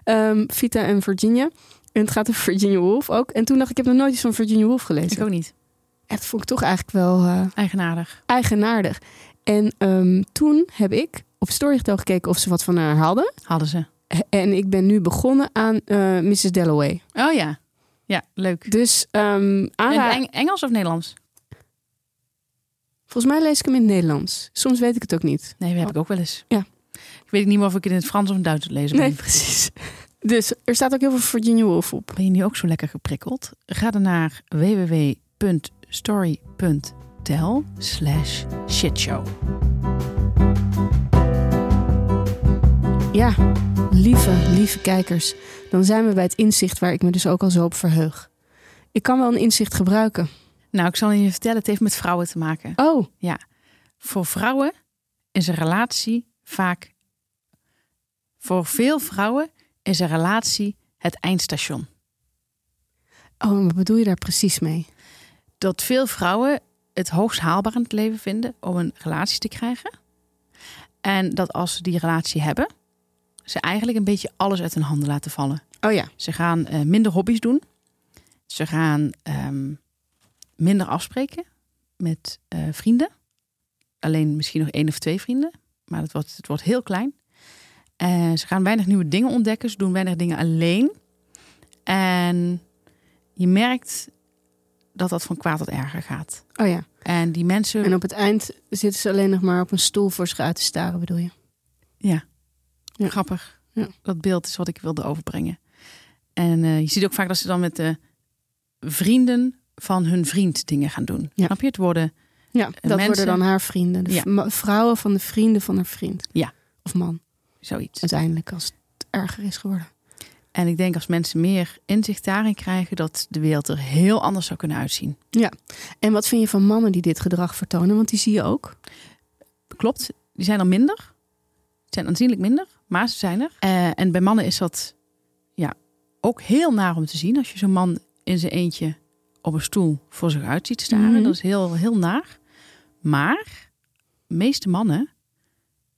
ehm, Vita en Virginia. En het gaat over Virginia Woolf ook. En toen dacht ik, ik heb nog nooit iets van Virginia Woolf Ik gelezen. ook niet. Het vond ik toch eigenlijk wel eh, Eigenaardig. eigenaardig. En ehm, toen heb ik op Storytel gekeken of ze wat van haar hadden. Hadden ze. En ik ben nu begonnen aan eh, Mrs. Dalloway. Oh ja. Ja, leuk. Dus ehm In aanra- het Eng- Engels of Nederlands? volgens mij lees ik hem in het Nederlands. Soms weet ik het ook niet. Nee, dat heb ik ook wel eens. Ja. Ik weet niet meer of ik het in het Frans of in het Duits moet lezen. Nee, <laughs> precies. Dus er staat ook heel veel Virginia Woolf op. Ben je nu ook zo lekker geprikkeld? Ga dan naar www.story.tel slash shitshow. Ja, lieve, lieve kijkers. Dan zijn we bij het inzicht waar ik me dus ook al zo op verheug. Ik kan wel een inzicht gebruiken. Nou, ik zal je vertellen, het heeft met vrouwen te maken. Oh, Voor vrouwen is een relatie vaak... Voor veel vrouwen is een relatie het eindstation. oh wat bedoel je daar precies mee? dat veel vrouwen het hoogst haalbaar in het leven vinden om een relatie te krijgen. En dat als ze die relatie hebben, ze eigenlijk een beetje alles uit hun handen laten vallen. Oh ja, Ze gaan eh, minder hobby's doen. Ze gaan ehm, minder afspreken met eh, vrienden. Alleen misschien nog één of twee vrienden. Maar het wordt, het wordt heel klein. Eh, ze gaan weinig nieuwe dingen ontdekken. Ze doen weinig dingen alleen. En je merkt dat dat van kwaad tot erger gaat. oh ja. En die mensen... En op het eind zitten ze alleen nog maar op een stoel voor zich uit te staren, bedoel je? Ja. Grappig. Ja. Dat beeld is wat ik wilde overbrengen. En eh, je ziet ook vaak dat ze dan met de vrienden van hun vriend dingen gaan doen. Ja. Snap je? Het worden Ja, dat worden mensen- dan haar vrienden. De Ja. v- ma- vrouwen van de vrienden van haar vriend. Ja. Of man, zoiets. uiteindelijk, als het erger is geworden. En ik denk als mensen meer inzicht daarin krijgen... dat de wereld er heel anders zou kunnen uitzien. En wat vind je van mannen die dit gedrag vertonen? Want die zie je ook. Klopt, die zijn er minder. Die zijn aanzienlijk minder, maar ze zijn er. Eh, en bij mannen is dat ja, ook heel naar om te zien. Als je zo'n man in zijn eentje op een stoel voor zich uit ziet staren. Mhm. Dat is heel, heel naar. Maar de meeste mannen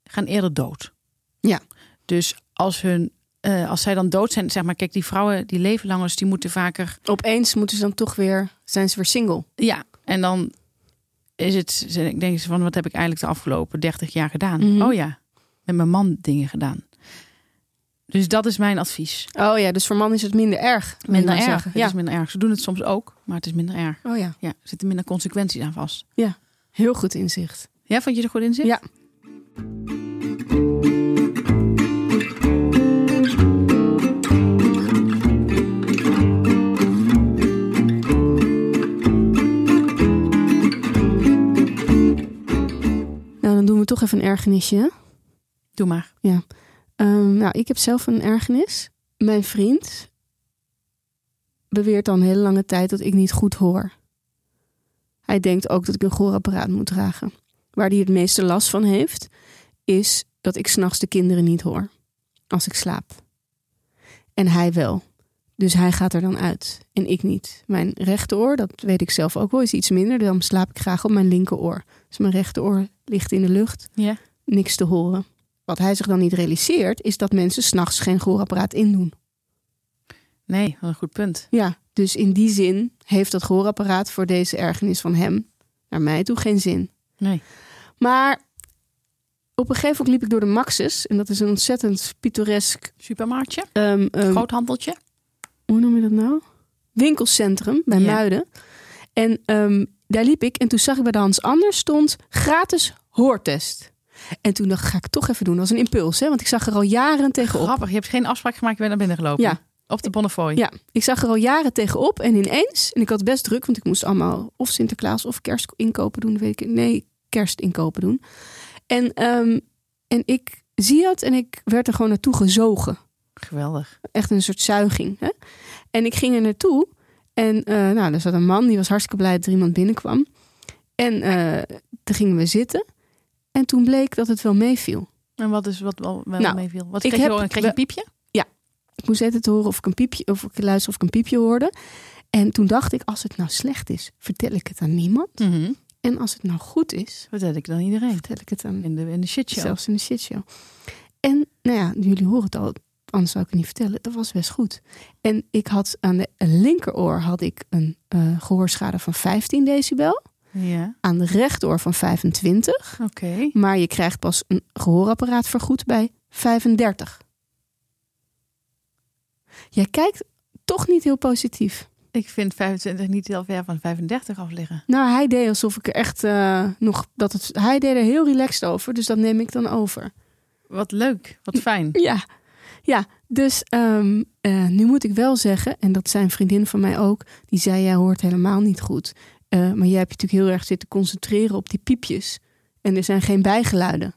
gaan eerder dood. Ja. Dus als, hun, eh, als zij dan dood zijn, zeg maar, kijk, die vrouwen die leven langer, dus die moeten vaker Opeens moeten ze dan toch weer, zijn ze weer single. ja, en dan is het, ik denk ze van wat heb ik eigenlijk de afgelopen 30 jaar gedaan? Mhm. Oh ja, met mijn man dingen gedaan. Dus dat is mijn advies. Oh ja, dus voor mannen is het minder erg. wil je Minder maar erg. zeggen. Het Ja. is minder erg. Ze doen het soms ook, maar het is minder erg. Oh ja, Ja, er zitten minder consequenties aan vast. heel goed inzicht. Ja, vond je er goed in zit? Ja. Nou, dan doen we toch even een ergernisje. hè? Doe maar. Ehm, nou, ik heb zelf een ergernis. Mijn vriend beweert al een hele lange tijd dat ik niet goed hoor. Hij denkt ook dat ik een gehoorapparaat moet dragen. Waar hij het meeste last van heeft, is dat ik s'nachts de kinderen niet hoor. Als ik slaap. En hij wel. Dus hij gaat er dan uit. En ik niet. Mijn rechteroor, dat weet ik zelf ook wel, is iets minder. Dan slaap ik graag op mijn linkeroor. Dus mijn rechteroor ligt in de lucht Ja. niks te horen. Wat hij zich dan niet realiseert, is dat mensen s'nachts geen gehoorapparaat indoen. Nee, wat een goed punt. Ja, dus in die zin heeft dat gehoorapparaat voor deze ergernis van hem naar mij toe geen zin. Nee. Maar op een gegeven moment liep ik door de Maxis. En dat is een ontzettend pittoresk... Supermarktje, ehm, ehm, groothandeltje. hoe noem je dat nou? Winkelcentrum bij Ja. Muiden. En ehm, daar liep ik en toen zag ik bij de Hans Anders stond gratis hoortest. En toen dacht ik, ga ik toch even doen. Dat was een impuls, hè? want ik zag er al jaren tegenop. Grappig, je hebt geen afspraak gemaakt, je bent naar binnen gelopen. Ja. Op de Bonnefoy. Ja, ik zag er al jaren tegenop en ineens, en ik had best druk, want ik moest allemaal of Sinterklaas of kerst inkopen doen, weet ik. Nee, kerst inkopen doen. En, ehm, en ik zie het en ik werd er gewoon naartoe gezogen. Geweldig. Echt een soort zuiging. Hè? En ik ging er naartoe en eh nou, er zat een man, die was hartstikke blij dat er iemand binnenkwam. En eh, toen gingen we zitten en toen bleek dat het wel meeviel. En wat is wat wel, wel Nou, meeviel? Wat ik kreeg je, heb- horen? kreeg je een piepje? Ik moest altijd horen of ik een piepje, of ik luister of ik een piepje hoorde. En toen dacht ik, als het nou slecht is, vertel ik het aan niemand. En als het nou goed is, Wat deed ik dan iedereen? vertel ik het aan In de, in de shitshow. zelfs in de shitshow. En nou ja, jullie horen het al, anders zou ik het niet vertellen. Dat was best goed. En ik had aan de linkeroor had ik een eh, gehoorschade van 15 decibel. Ja, Aan de rechteroor van 25. oké. Maar je krijgt pas een gehoorapparaat vergoed bij 35. Jij kijkt toch niet heel positief. Ik vind 25 niet heel ver van 35 af liggen. Nou, hij deed alsof ik er echt eh, nog. Dat het, hij deed er heel relaxed over, dus dat neem ik dan over. Wat leuk, wat <laughs> fijn. Ja, ja. Dus ehm, eh, nu moet ik wel zeggen, en dat zijn vriendin van mij ook, die zei: Jij hoort helemaal niet goed. Eh, maar jij hebt je natuurlijk heel erg zitten concentreren op die piepjes. En er zijn geen bijgeluiden.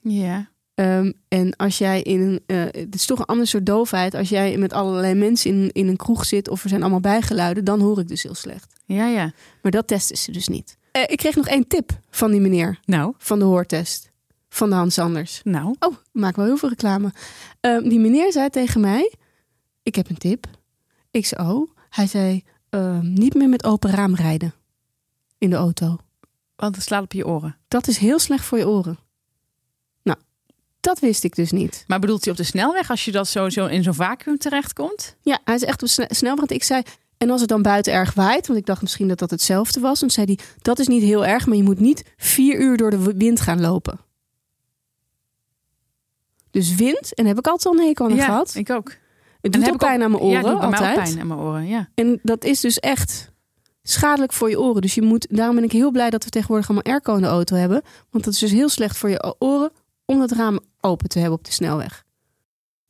Ja, Ehm, en als jij in een. eh, het is toch een ander soort doofheid. Als jij met allerlei mensen in, in een kroeg zit of er zijn allemaal bijgeluiden, dan hoor ik dus heel slecht. ja, ja. Maar dat testen ze dus niet. Eh, ik kreeg nog één tip van die meneer, Nou, van de hoortest. Van de Hans Sanders. nou. Oh, ik maak wel heel veel reclame. Ehm, die meneer zei tegen mij: Ik heb een tip. Ik zei: Oh, hij zei: ehm, Niet meer met open raam rijden in de auto. Want het slaat op je oren. Dat is heel slecht voor je oren. Nou, dat wist ik dus niet. Maar bedoelt hij op de snelweg als je dat zo, zo in zo'n vacuüm terechtkomt? Ja, hij is echt op sne snelbrand. Ik zei, en als het dan buiten erg waait, want ik dacht misschien dat dat hetzelfde was. Dan zei hij, dat is niet heel erg, maar je moet niet vier uur door de w- wind gaan lopen. Dus wind, en heb ik altijd al een hekel aan ja, gehad. ik ook. het En doet heb al ik ook- pijn aan mijn oren, Ja, het doet bij mij ook altijd. pijn aan mijn oren, ja. En dat is dus echt schadelijk voor je oren. Dus je moet, daarom ben ik heel blij dat we tegenwoordig allemaal airco in de auto hebben. Want dat is dus heel slecht voor je oren om dat raam open te hebben op de snelweg.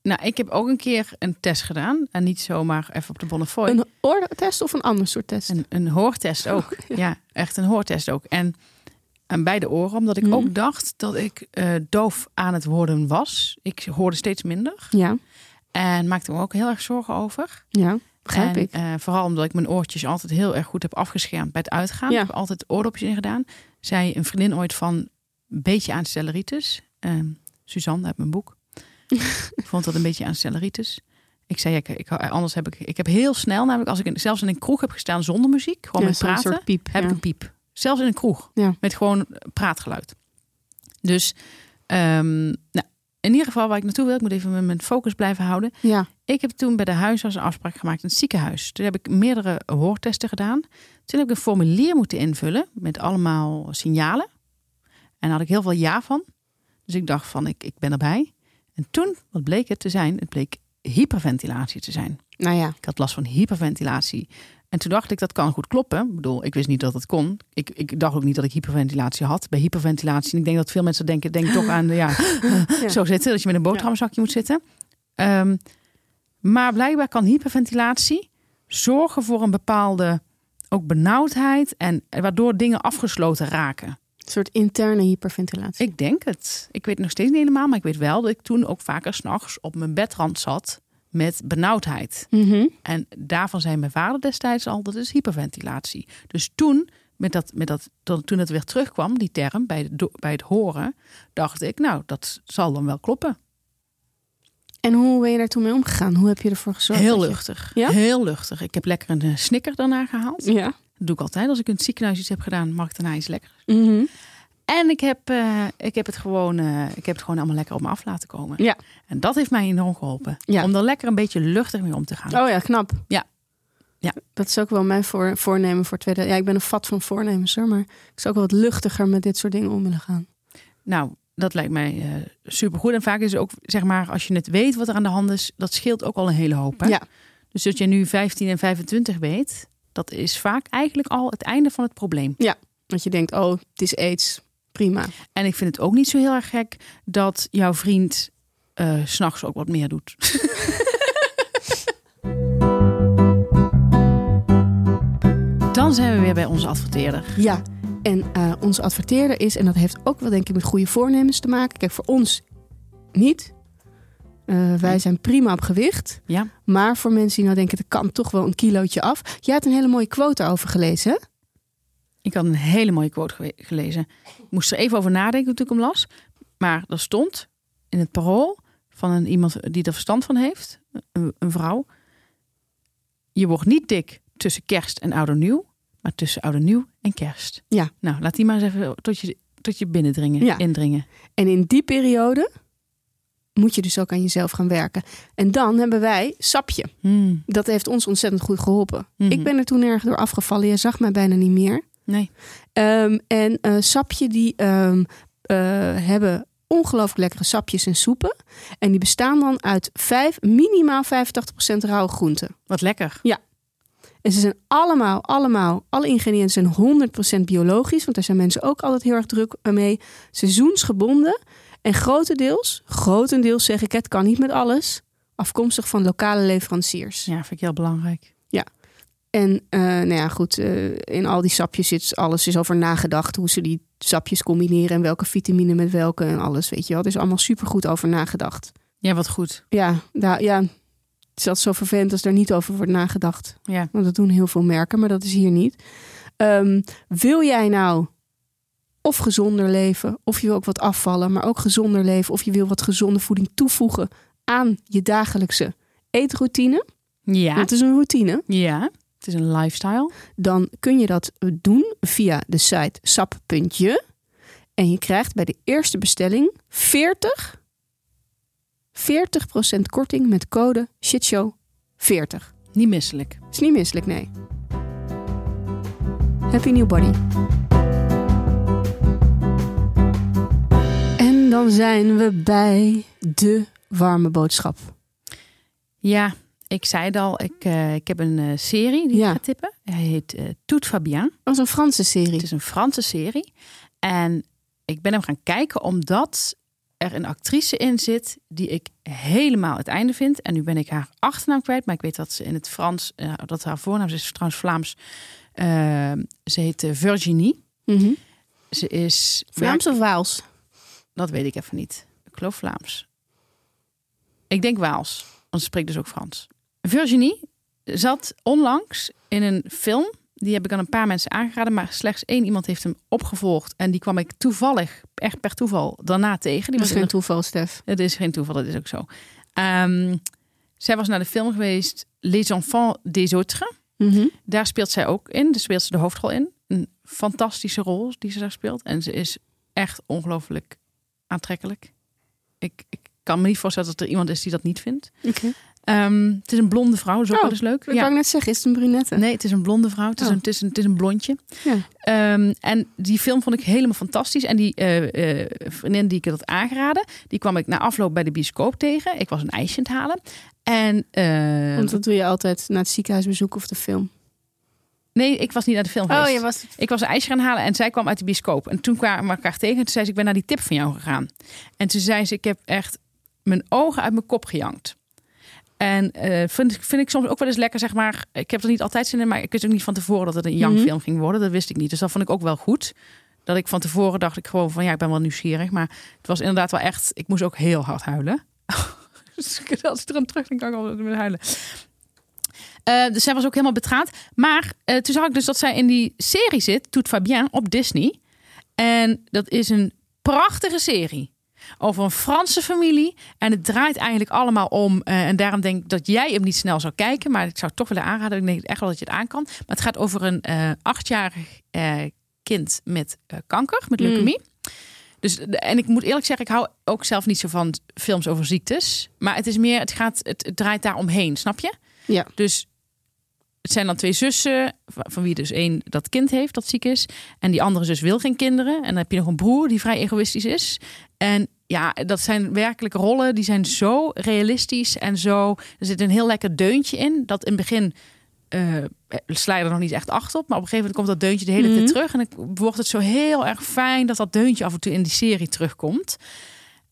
Nou, ik heb ook een keer een test gedaan. En niet zomaar even op de Bonnefoy. Een oortest of een ander soort test? Een, een hoortest <laughs> ook. ja. echt een hoortest ook. En aan beide oren, omdat ik Mhm. ook dacht dat ik eh, doof aan het worden was. Ik hoorde steeds minder. Ja, En maakte me ook heel erg zorgen over. ja, begrijp en, ik. eh, vooral omdat ik mijn oortjes altijd heel erg goed heb afgeschermd bij het uitgaan. Ja. Ik heb altijd oordopjes in gedaan. Zei een vriendin ooit van een beetje aanstelleritis. Ehm Suzanne uit mijn <laughs> boek. Ik vond dat een beetje aanstelleritis. Ik zei, ja, ik, ik, anders heb ik, ik heb heel snel, namelijk als ik in- zelfs in een kroeg heb gestaan zonder muziek, gewoon Ja, met zo'n praten, soort piep. heb ja. ik een piep. Zelfs in een kroeg. Ja. Met gewoon praatgeluid. Dus ehm, nou, in ieder geval waar ik naartoe wil, ik moet even mijn- mijn focus blijven houden. Ja, Ik heb toen bij de huisarts een afspraak gemaakt in het ziekenhuis. Toen heb ik meerdere hoortesten gedaan. Toen heb ik een formulier moeten invullen met allemaal signalen. En daar had ik heel veel ja van. Dus ik dacht van, ik, ik ben erbij. En toen, wat bleek het te zijn? Het bleek hyperventilatie te zijn. nou ja. Ik had last van hyperventilatie. En toen dacht ik, dat kan goed kloppen. Ik bedoel, ik wist niet dat het kon. Ik, ik dacht ook niet dat ik hyperventilatie had. Bij hyperventilatie, en ik denk dat veel mensen denken, denk toch aan, ja, zo zitten. Dat je met een boterhamzakje moet zitten. Ehm, maar blijkbaar kan hyperventilatie zorgen voor een bepaalde ook benauwdheid. En waardoor dingen afgesloten raken. Een soort interne hyperventilatie. Ik denk het. Ik weet het nog steeds niet helemaal, maar ik weet wel dat ik toen ook vaker s'nachts op mijn bedrand zat met benauwdheid. Mhm. En daarvan zei mijn vader destijds al, dat is hyperventilatie. Dus toen, met dat, met dat, dat- toen het weer terugkwam, die term, bij, de do- bij het horen, dacht ik, nou, dat zal dan wel kloppen. En hoe ben je daar toen mee omgegaan? Hoe heb je ervoor gezorgd? Heel dat je- luchtig. Ja? Heel luchtig. Ik heb lekker een eh, snicker daarna gehaald. Ja. Dat doe ik altijd. Als ik in het ziekenhuis iets heb gedaan, mag ik daarna iets lekker. Mhm. En ik heb, eh, ik, heb het gewoon, eh, ik heb het gewoon allemaal lekker op me af laten komen. Ja. En dat heeft mij enorm geholpen. Ja. Om er lekker een beetje luchtig mee om te gaan. Oh ja, knap. Ja. Ja. Dat is ook wel mijn voor, voornemen voor tweede. Ja, ik ben een vat van voornemens hoor, maar ik zou ook wel wat luchtiger met dit soort dingen om willen gaan. Nou, dat lijkt mij eh, supergoed. En vaak is het ook, zeg maar, als je het weet wat er aan de hand is, dat scheelt ook al een hele hoop. Hè? Ja. Dus dat je nu 15 en 25 weet, dat is vaak eigenlijk al het einde van het probleem. Dat je denkt, oh, het is aids. Prima. En ik vind het ook niet zo heel erg gek dat jouw vriend eh, s s'nachts ook wat meer doet. <laughs> Dan zijn we weer bij onze adverteerder. Ja, en eh, onze adverteerder is, en dat heeft ook wel denk ik met goede voornemens te maken. Kijk, voor ons niet. Eh, wij zijn prima op gewicht. Ja. Maar voor mensen die nou denken, er kan toch wel een kilootje af. Jij hebt een hele mooie quote over gelezen. hè? Ik had een hele mooie quote gewe- gelezen. Ik moest er even over nadenken toen ik hem las. Maar er stond in het parool van een, iemand die er verstand van heeft, een, een vrouw. Je wordt niet dik tussen kerst en oud en nieuw, maar tussen oud en nieuw en kerst. Ja. Nou, laat die maar eens even tot je, tot je binnendringen, Ja. indringen. En in die periode moet je dus ook aan jezelf gaan werken. En dan hebben wij sapje. Hmm. Dat heeft ons ontzettend goed geholpen. Mhm. Ik ben er toen erg door afgevallen. Je zag mij bijna niet meer. Nee. Ehm, en eh, sapje die ehm, eh, hebben ongelooflijk lekkere sapjes en soepen. En die bestaan dan uit vijf, minimaal 85% rauwe groenten. Wat lekker. En ze zijn allemaal, allemaal, alle ingrediënten zijn 100% biologisch. Want daar zijn mensen ook altijd heel erg druk mee. Seizoensgebonden. En grotendeels, grotendeels zeg ik het, kan niet met alles. Afkomstig van lokale leveranciers. Ja, vind ik heel belangrijk. En eh, nou ja, goed, eh, in al die sapjes zit alles is over nagedacht. Hoe ze die sapjes combineren en welke vitamine met welke en alles, weet je wel. Er is allemaal supergoed over nagedacht. Ja, wat goed. Ja, daar, ja, het is altijd zo vervelend als daar niet over wordt nagedacht. Ja. Want dat doen heel veel merken, maar dat is hier niet. Ehm, wil jij nou of gezonder leven, of je wil ook wat afvallen, maar ook gezonder leven, of je wil wat gezonde voeding toevoegen aan je dagelijkse eetroutine? Ja. Want het is een routine. Ja. Het is een lifestyle. dan kun je dat doen via de site sap.je. En je krijgt bij de eerste bestelling 40, 40% korting met code shitshow40. Niet misselijk. Is niet misselijk, nee. Happy new body. En dan zijn we bij de warme boodschap. Ja, ik zei het al, ik, eh, ik heb een eh, serie die Ja. ik ga tippen. Hij heet eh Tout Fabien. Dat is een Franse Het serie. is een Franse serie. En ik ben hem gaan kijken omdat er een actrice in zit die ik helemaal het einde vind. En nu ben ik haar achternaam kwijt, maar ik weet dat ze in het Frans, eh, dat haar voornaam ze is trouwens Vlaams. Eh, ze heet eh, Virginie. Mhm. Ze is Vlaams of Waals? dat weet ik even niet. Ik geloof Vlaams. Ik denk Waals, want ze spreekt dus ook Frans. Virginie zat onlangs in een film. Die heb ik aan een paar mensen aangeraden, maar slechts één iemand heeft hem opgevolgd. En die kwam ik toevallig, echt per toeval, daarna tegen. Die Dat was is in geen toeval, Stef. het is geen toeval, dat is ook zo. Ehm, zij was naar de film geweest Les Enfants des Autres. Mhm. Daar speelt zij ook in. Daar speelt ze de hoofdrol in. Een fantastische rol die ze daar speelt. En ze is echt ongelooflijk aantrekkelijk. Ik, ik kan me niet voorstellen dat er iemand is die dat niet vindt. Ehm, het is een blonde vrouw, dat is ook Oh, wel eens leuk. Ik wou net zeggen, is het een brunette? Nee, het is een blonde vrouw. Het, is, Oh. een, het, is, een, het is een blondje. Ja. Ehm, en die film vond ik helemaal fantastisch. En die eh, eh, vriendin die ik dat aangeraden, die kwam ik na afloop bij de bioscoop tegen. Ik was een ijsje aan het halen. En eh, Want dat doe je altijd na het ziekenhuisbezoek of de film. nee, ik was niet naar de film Oh, geweest. was... Ik was een ijsje gaan halen en zij kwam uit de bioscoop. En toen kwamen we elkaar tegen en toen zei ze, ik ben naar die tip van jou gegaan. En toen zei ze, ik heb echt mijn ogen uit mijn kop gejankt. En eh, vind, ik- vind ik soms ook wel eens lekker, zeg maar. Ik heb er niet altijd zin in, maar ik wist ook niet van tevoren dat het een jankfilm Mhm. ging worden. Dat wist ik niet. Dus dat vond ik ook wel goed. Dat ik van tevoren dacht ik gewoon van, ja, ik ben wel nieuwsgierig. Maar het was inderdaad wel echt, ik moest ook heel hard huilen. <laughs> dus als ik er aan terugdenk, kan ik altijd weer huilen. Eh, dus zij was ook helemaal betraand. Maar eh, toen zag ik dus dat zij in die serie zit, Tout Fabien, op Disney. En dat is een prachtige serie. Over een Franse familie. En het draait eigenlijk allemaal om. eh, en daarom denk ik dat jij hem niet snel zou kijken. Maar ik zou het toch willen aanraden. Ik denk echt wel dat je het aan kan. Maar het gaat over een eh, achtjarig eh, kind met eh, kanker, met Mm. leukemie. Dus, de- en ik moet eerlijk zeggen, ik hou ook zelf niet zo van films over ziektes. Maar het is meer, het, gaat, het, het draait daar omheen, snap je? Ja. Dus het zijn dan twee zussen, va- van wie dus één dat kind heeft dat ziek is. En die andere zus wil geen kinderen. En dan heb je nog een broer die vrij egoïstisch is. En ja, dat zijn werkelijk rollen. Die zijn zo realistisch en zo... Er zit een heel lekker deuntje in. Dat in het begin eh sla je er nog niet echt acht op. Maar op een gegeven moment komt dat deuntje de hele Mhm. tijd terug. En dan wordt het zo heel erg fijn dat dat deuntje af en toe in die serie terugkomt.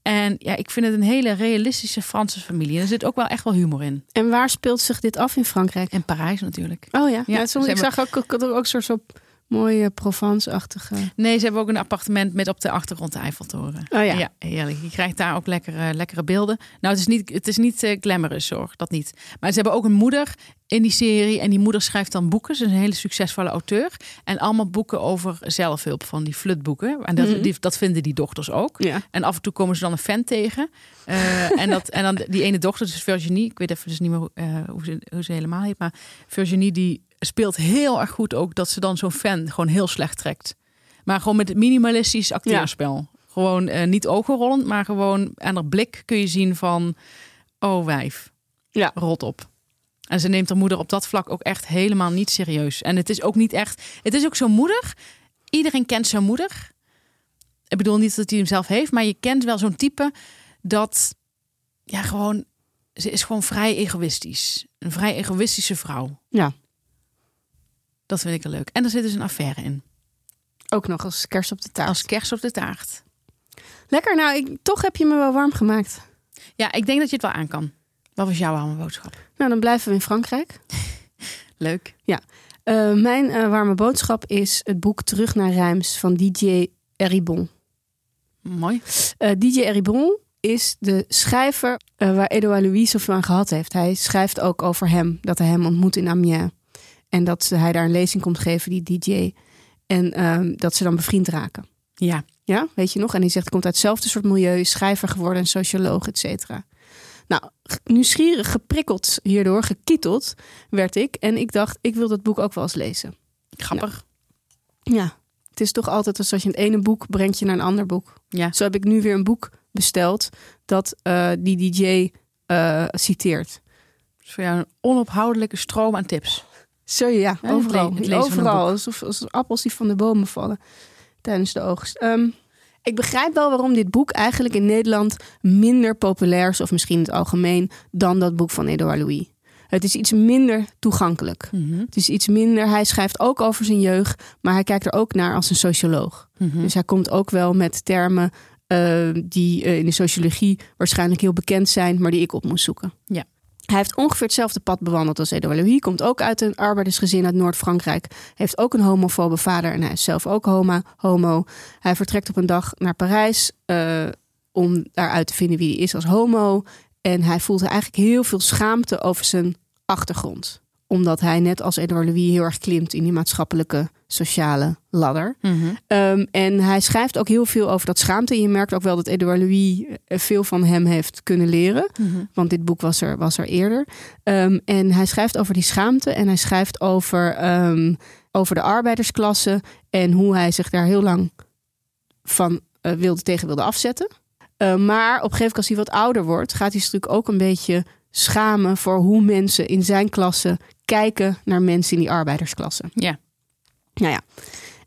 En ja, ik vind het een hele realistische Franse familie. En er zit ook wel echt wel humor in. En waar speelt zich dit af in Frankrijk? En Parijs natuurlijk. Oh ja, Ja, ja, soms, ze ik zag ook, ik had ook een soort zo mooie Provence-achtige... Nee, ze hebben ook een appartement met op de achtergrond de Eiffeltoren. Oh ja. Ja. heerlijk. Je krijgt daar ook lekkere, lekkere beelden. Nou, het is niet, het is niet eh, glamorous, zorg dat niet. Maar ze hebben ook een moeder in die serie. En die moeder schrijft dan boeken. Ze is een hele succesvolle auteur. En allemaal boeken over zelfhulp, van die flutboeken. En dat, Mhm. die, dat vinden die dochters ook. Ja. En af en toe komen ze dan een fan tegen. Eh, en, dat, en dan die ene dochter, dus Virginie. Ik weet even dus niet meer hoe, eh, hoe, ze, hoe ze helemaal heet. Maar Virginie die speelt heel erg goed ook dat ze dan zo'n fan gewoon heel slecht trekt. Maar gewoon met minimalistisch acteerspel. Gewoon eh, niet ogenrollend, maar gewoon aan haar blik kun je zien van... Oh wijf, Ja. rot op. En ze neemt haar moeder op dat vlak ook echt helemaal niet serieus. En het is ook niet echt... Het is ook zo'n moeder. Iedereen kent zijn moeder. Ik bedoel niet dat hij hem zelf heeft, maar je kent wel zo'n type dat ja gewoon ze is gewoon vrij egoïstisch, een vrij egoïstische vrouw. Ja. Dat vind ik er leuk. En er zit dus een affaire in. Ook nog als kerst op de taart. Als kerst op de taart. Lekker, nou, ik, toch heb je me wel warm gemaakt. Ja, ik denk dat je het wel aan kan. Wat was jouw warme boodschap? Nou, dan blijven we in Frankrijk. Leuk. Eh, mijn eh, warme boodschap is het boek Terug naar Rijms van DJ Eribon. Mooi. Eh, DJ Eribon is de schrijver eh, waar Edouard Louis zoveel aan gehad heeft. Hij schrijft ook over hem, dat hij hem ontmoet in Amiens. En dat ze- hij daar een lezing komt geven, die DJ. En ehm, dat ze dan bevriend raken. Ja. Ja, weet je nog? En die zegt, komt uit hetzelfde soort milieu, is schrijver geworden en socioloog, et cetera. Nou, g- nieuwsgierig, geprikkeld hierdoor, gekieteld werd ik. En ik dacht, ik wil dat boek ook wel eens lezen. Grappig. Ja, het is toch altijd als als je het ene boek brengt je naar een ander boek. Ja. Zo heb ik nu weer een boek besteld dat eh, die DJ eh, citeert. Dus voor jou een onophoudelijke stroom aan tips. Zo ja, het overal. le- het lezen van een overal, boek. alsof, alsof appels die van de bomen vallen tijdens de oogst. Ehm, ik begrijp wel waarom dit boek eigenlijk in Nederland minder populair is, of misschien in het algemeen, dan dat boek van Edouard Louis. Het is iets minder toegankelijk. Mhm. Het is iets minder. Hij schrijft ook over zijn jeugd, maar hij kijkt er ook naar als een socioloog. Mhm. Dus hij komt ook wel met termen eh, die eh, in de sociologie waarschijnlijk heel bekend zijn, maar die ik op moest zoeken. Ja. Hij heeft ongeveer hetzelfde pad bewandeld als Edouard Louis. Komt ook uit een arbeidersgezin uit Noord-Frankrijk. Heeft ook een homofobe vader en hij is zelf ook homo. homo. Hij vertrekt op een dag naar Parijs eh, om daaruit te vinden wie hij is als homo. En hij voelt eigenlijk heel veel schaamte over zijn achtergrond. Omdat hij net als Edouard Louis heel erg klimt in die maatschappelijke sociale ladder. Mhm. Ehm, en hij schrijft ook heel veel over dat schaamte. En je merkt ook wel dat Edouard Louis eh, veel van hem heeft kunnen leren. Mhm. Want dit boek was er, was er eerder. Ehm, en hij schrijft over die schaamte. En hij schrijft over, ehm, over de arbeidersklasse. En hoe hij zich daar heel lang van eh, wilde, tegen wilde afzetten. Eh, maar op een gegeven moment als hij wat ouder wordt... gaat hij zich natuurlijk ook een beetje schamen... voor hoe mensen in zijn klasse kijken naar mensen in die arbeidersklasse. Ja. Nou ja.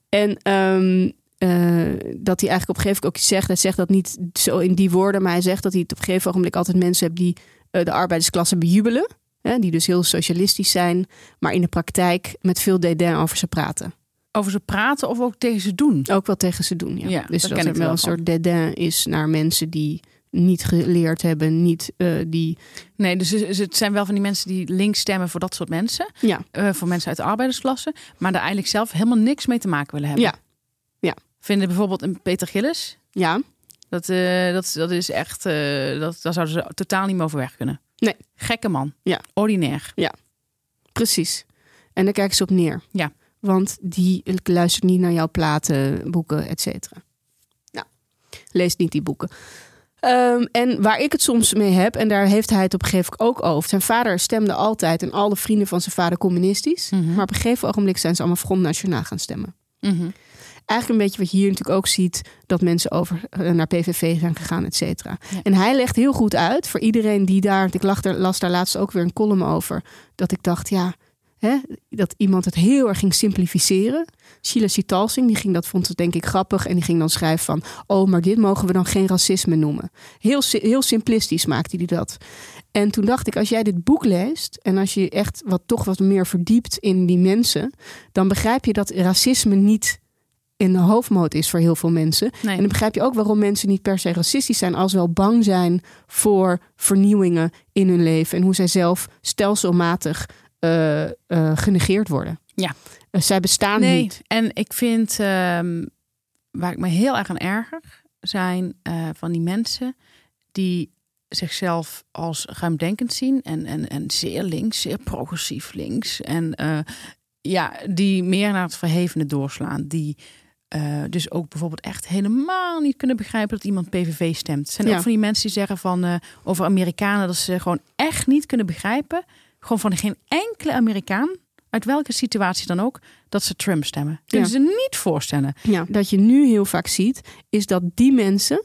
En ehm, eh, dat hij eigenlijk op een gegeven moment ook iets zegt. Hij zegt dat niet zo in die woorden, maar hij zegt dat hij het op een gegeven ogenblik altijd mensen hebt die eh, de arbeidersklasse bejubelen. Hè, die dus heel socialistisch zijn, maar in de praktijk met veel dédain over ze praten. Over ze praten of ook tegen ze doen. Ook wel tegen ze doen. Ja. Ja, dus daar dat ken er ik wel wel een van. soort dédain is naar mensen die niet geleerd hebben, niet eh, die. Nee, dus het- het zijn wel van die mensen die links stemmen voor dat soort mensen. Ja. Eh, voor mensen uit de arbeidersklasse. Maar daar eigenlijk zelf helemaal niks mee te maken willen hebben. Ja. Ja. Vinden bijvoorbeeld een Peter Gillis. Ja, Dat, eh, dat, dat is echt, eh, dat, daar zouden ze totaal niet meer over weg kunnen. Nee. Gekke man. Ja. Ordinair. precies. En daar kijken ze op neer. Ja. Want die luistert niet naar jouw platen, boeken, et cetera. Nou, lees niet die boeken. Ehm, en waar ik het soms mee heb, en daar heeft hij het op een gegeven moment ook over. Zijn vader stemde altijd en alle vrienden van zijn vader communistisch. Mhm. Maar op een gegeven ogenblik zijn ze allemaal Front Nationaal gaan stemmen. Mhm. Eigenlijk een beetje wat je hier natuurlijk ook ziet, dat mensen over eh, naar PVV zijn gegaan, et cetera. Ja. En hij legt heel goed uit voor iedereen die daar, want ik lag daar, las daar laatst ook weer een column over, dat ik dacht, ja, hè, dat iemand het heel erg ging simplificeren. Sheila Sitalsing, die ging dat, vond het denk ik grappig en die ging dan schrijven van, oh, maar dit mogen we dan geen racisme noemen. Heel, si- heel simplistisch maakte hij dat. En toen dacht ik, als jij dit boek leest en als je echt wat, toch wat meer verdiept in die mensen, dan begrijp je dat racisme niet in de hoofdmoot is voor heel veel mensen. Nee. En dan begrijp je ook waarom mensen niet per se racistisch zijn, als wel bang zijn voor vernieuwingen in hun leven en hoe zij zelf stelselmatig eh, eh, genegeerd worden. Ja. Eh, zij bestaan nee, niet. en ik vind ehm, waar ik me heel erg aan erger zijn eh, van die mensen die zichzelf als ruimdenkend zien en, en, en zeer links, zeer progressief links. En eh, ja, die meer naar het verhevene doorslaan. Die eh, dus ook bijvoorbeeld echt helemaal niet kunnen begrijpen dat iemand PVV stemt. Het zijn Ja. ook van die mensen die zeggen van eh, over Amerikanen dat ze gewoon echt niet kunnen begrijpen. Gewoon van geen enkele Amerikaan, uit welke situatie dan ook, dat ze Trump stemmen. Kunnen Ja. ze niet voorstellen. Ja, dat je nu heel vaak ziet, is dat die mensen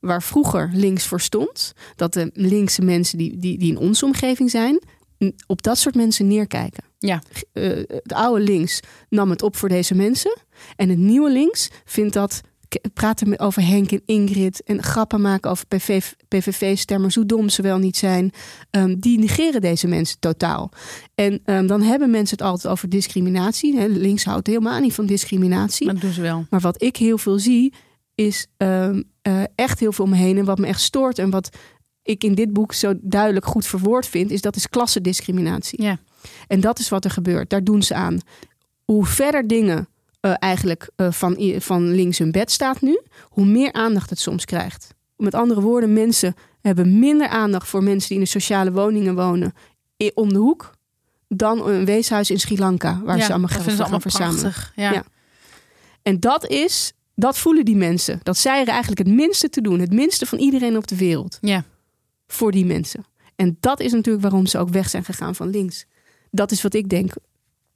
waar vroeger links voor stond, dat de linkse mensen die, die, die in onze omgeving zijn, n- op dat soort mensen neerkijken. Ja. G- eh, het oude links nam het op voor deze mensen en het nieuwe links vindt dat k- praten met- over Henk en Ingrid en grappen maken over PV, PVV-stemmers, hoe dom ze wel niet zijn, ehm, die negeren deze mensen totaal. En ehm, dan hebben mensen het altijd over discriminatie. Hè, links houdt helemaal niet van discriminatie. Maar dat doen ze wel. Maar wat ik heel veel zie, is ehm, eh, echt heel veel om me heen. En wat me echt stoort en wat ik in dit boek zo duidelijk goed verwoord vind, is dat is klassendiscriminatie. Ja. En dat is wat er gebeurt. Daar doen ze aan. Hoe verder dingen eh, eigenlijk eh, van, i- van links hun bed staat nu, hoe meer aandacht het soms krijgt. Met andere woorden, mensen hebben minder aandacht voor mensen die in de sociale woningen wonen i- om de hoek dan een weeshuis in Sri Lanka, waar Ja, ze allemaal dat geld vinden ze voor gaan allemaal verzamelen. prachtig. Ja. Ja. En dat is, dat voelen die mensen. Dat zij er eigenlijk het minste te doen. Het minste van iedereen op de wereld. Ja. Voor die mensen. En dat is natuurlijk waarom ze ook weg zijn gegaan van links. Dat is wat ik denk,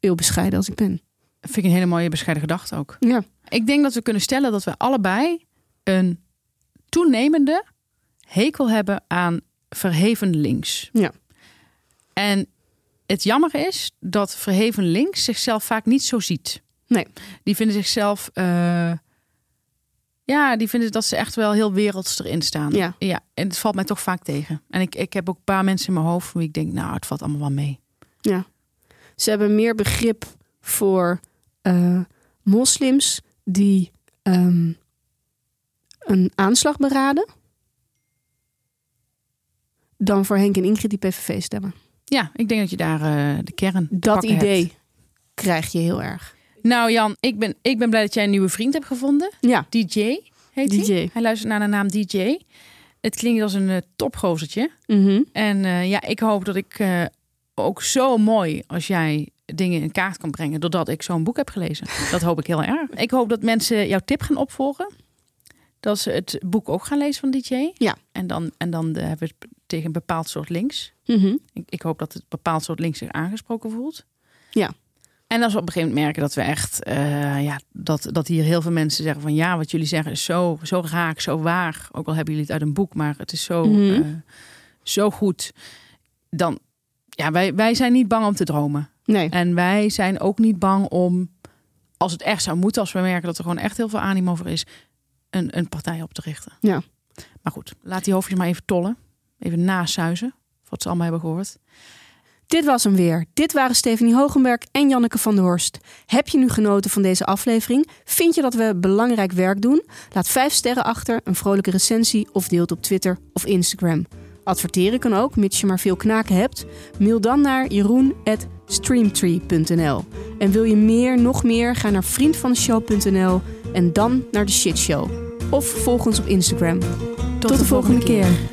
heel bescheiden als ik ben. vind ik een hele mooie bescheiden gedachte ook. Ja, Ik denk dat we kunnen stellen dat we allebei een toenemende hekel hebben aan verheven links. Ja. En het jammer is dat verheven links zichzelf vaak niet zo ziet. Nee. Die vinden zichzelf. eh, ja, die vinden dat ze echt wel heel werelds erin staan. Ja. ja en het valt mij toch vaak tegen. En ik, ik heb ook een paar mensen in mijn hoofd van wie ik denk, nou, het valt allemaal wel mee. ja. Ze hebben meer begrip voor eh, moslims die ehm, een aanslag beraden. Dan voor Henk en Ingrid die PVV stemmen. Ja, ik denk dat je daar eh, de kern. te Dat pakken hebt. idee krijg je heel erg. Nou, Jan, ik ben, ik ben blij dat jij een nieuwe vriend hebt gevonden. Ja, DJ heet DJ. hij. Hij luistert naar de naam DJ. Het klinkt als een eh, topgozertje. Mhm. En eh, ja, ik hoop dat ik eh, ook zo mooi als jij dingen in kaart kan brengen... doordat ik zo'n boek heb gelezen. Dat hoop ik heel erg. Ik hoop dat mensen jouw tip gaan opvolgen. Dat ze het boek ook gaan lezen van DJ. Ja. En dan, en dan eh, hebben we het tegen een bepaald soort links. Mhm. Ik, ik hoop dat het bepaald soort links zich aangesproken voelt. Ja. En als we op een gegeven moment merken dat we echt, eh, ja, dat, dat hier heel veel mensen zeggen van ja, wat jullie zeggen is zo, zo raak, zo waar. Ook al hebben jullie het uit een boek, maar het is zo, Mhm. eh, zo goed. Dan, ja, wij, wij zijn niet bang om te dromen. Nee. En wij zijn ook niet bang om, als het echt zou moeten, als we merken dat er gewoon echt heel veel animo voor is, een, een partij op te richten. Ja. Maar goed, laat die hoofdjes maar even tollen. Even nasuizen, wat ze allemaal hebben gehoord. Dit was hem weer. Dit waren Stephanie Hogenberg en Janneke van der Horst. Heb je nu genoten van deze aflevering? Vind je dat we belangrijk werk doen? Laat vijf sterren achter, een vrolijke recensie of deel het op Twitter of Instagram. Adverteren kan ook, mits je maar veel knaken hebt. Mail dan naar jeroen.streamtree.nl En wil je meer, nog meer, ga naar vriendvandeshow.nl en dan naar de shitshow. Of volg ons op Instagram. Tot, de, volgende keer.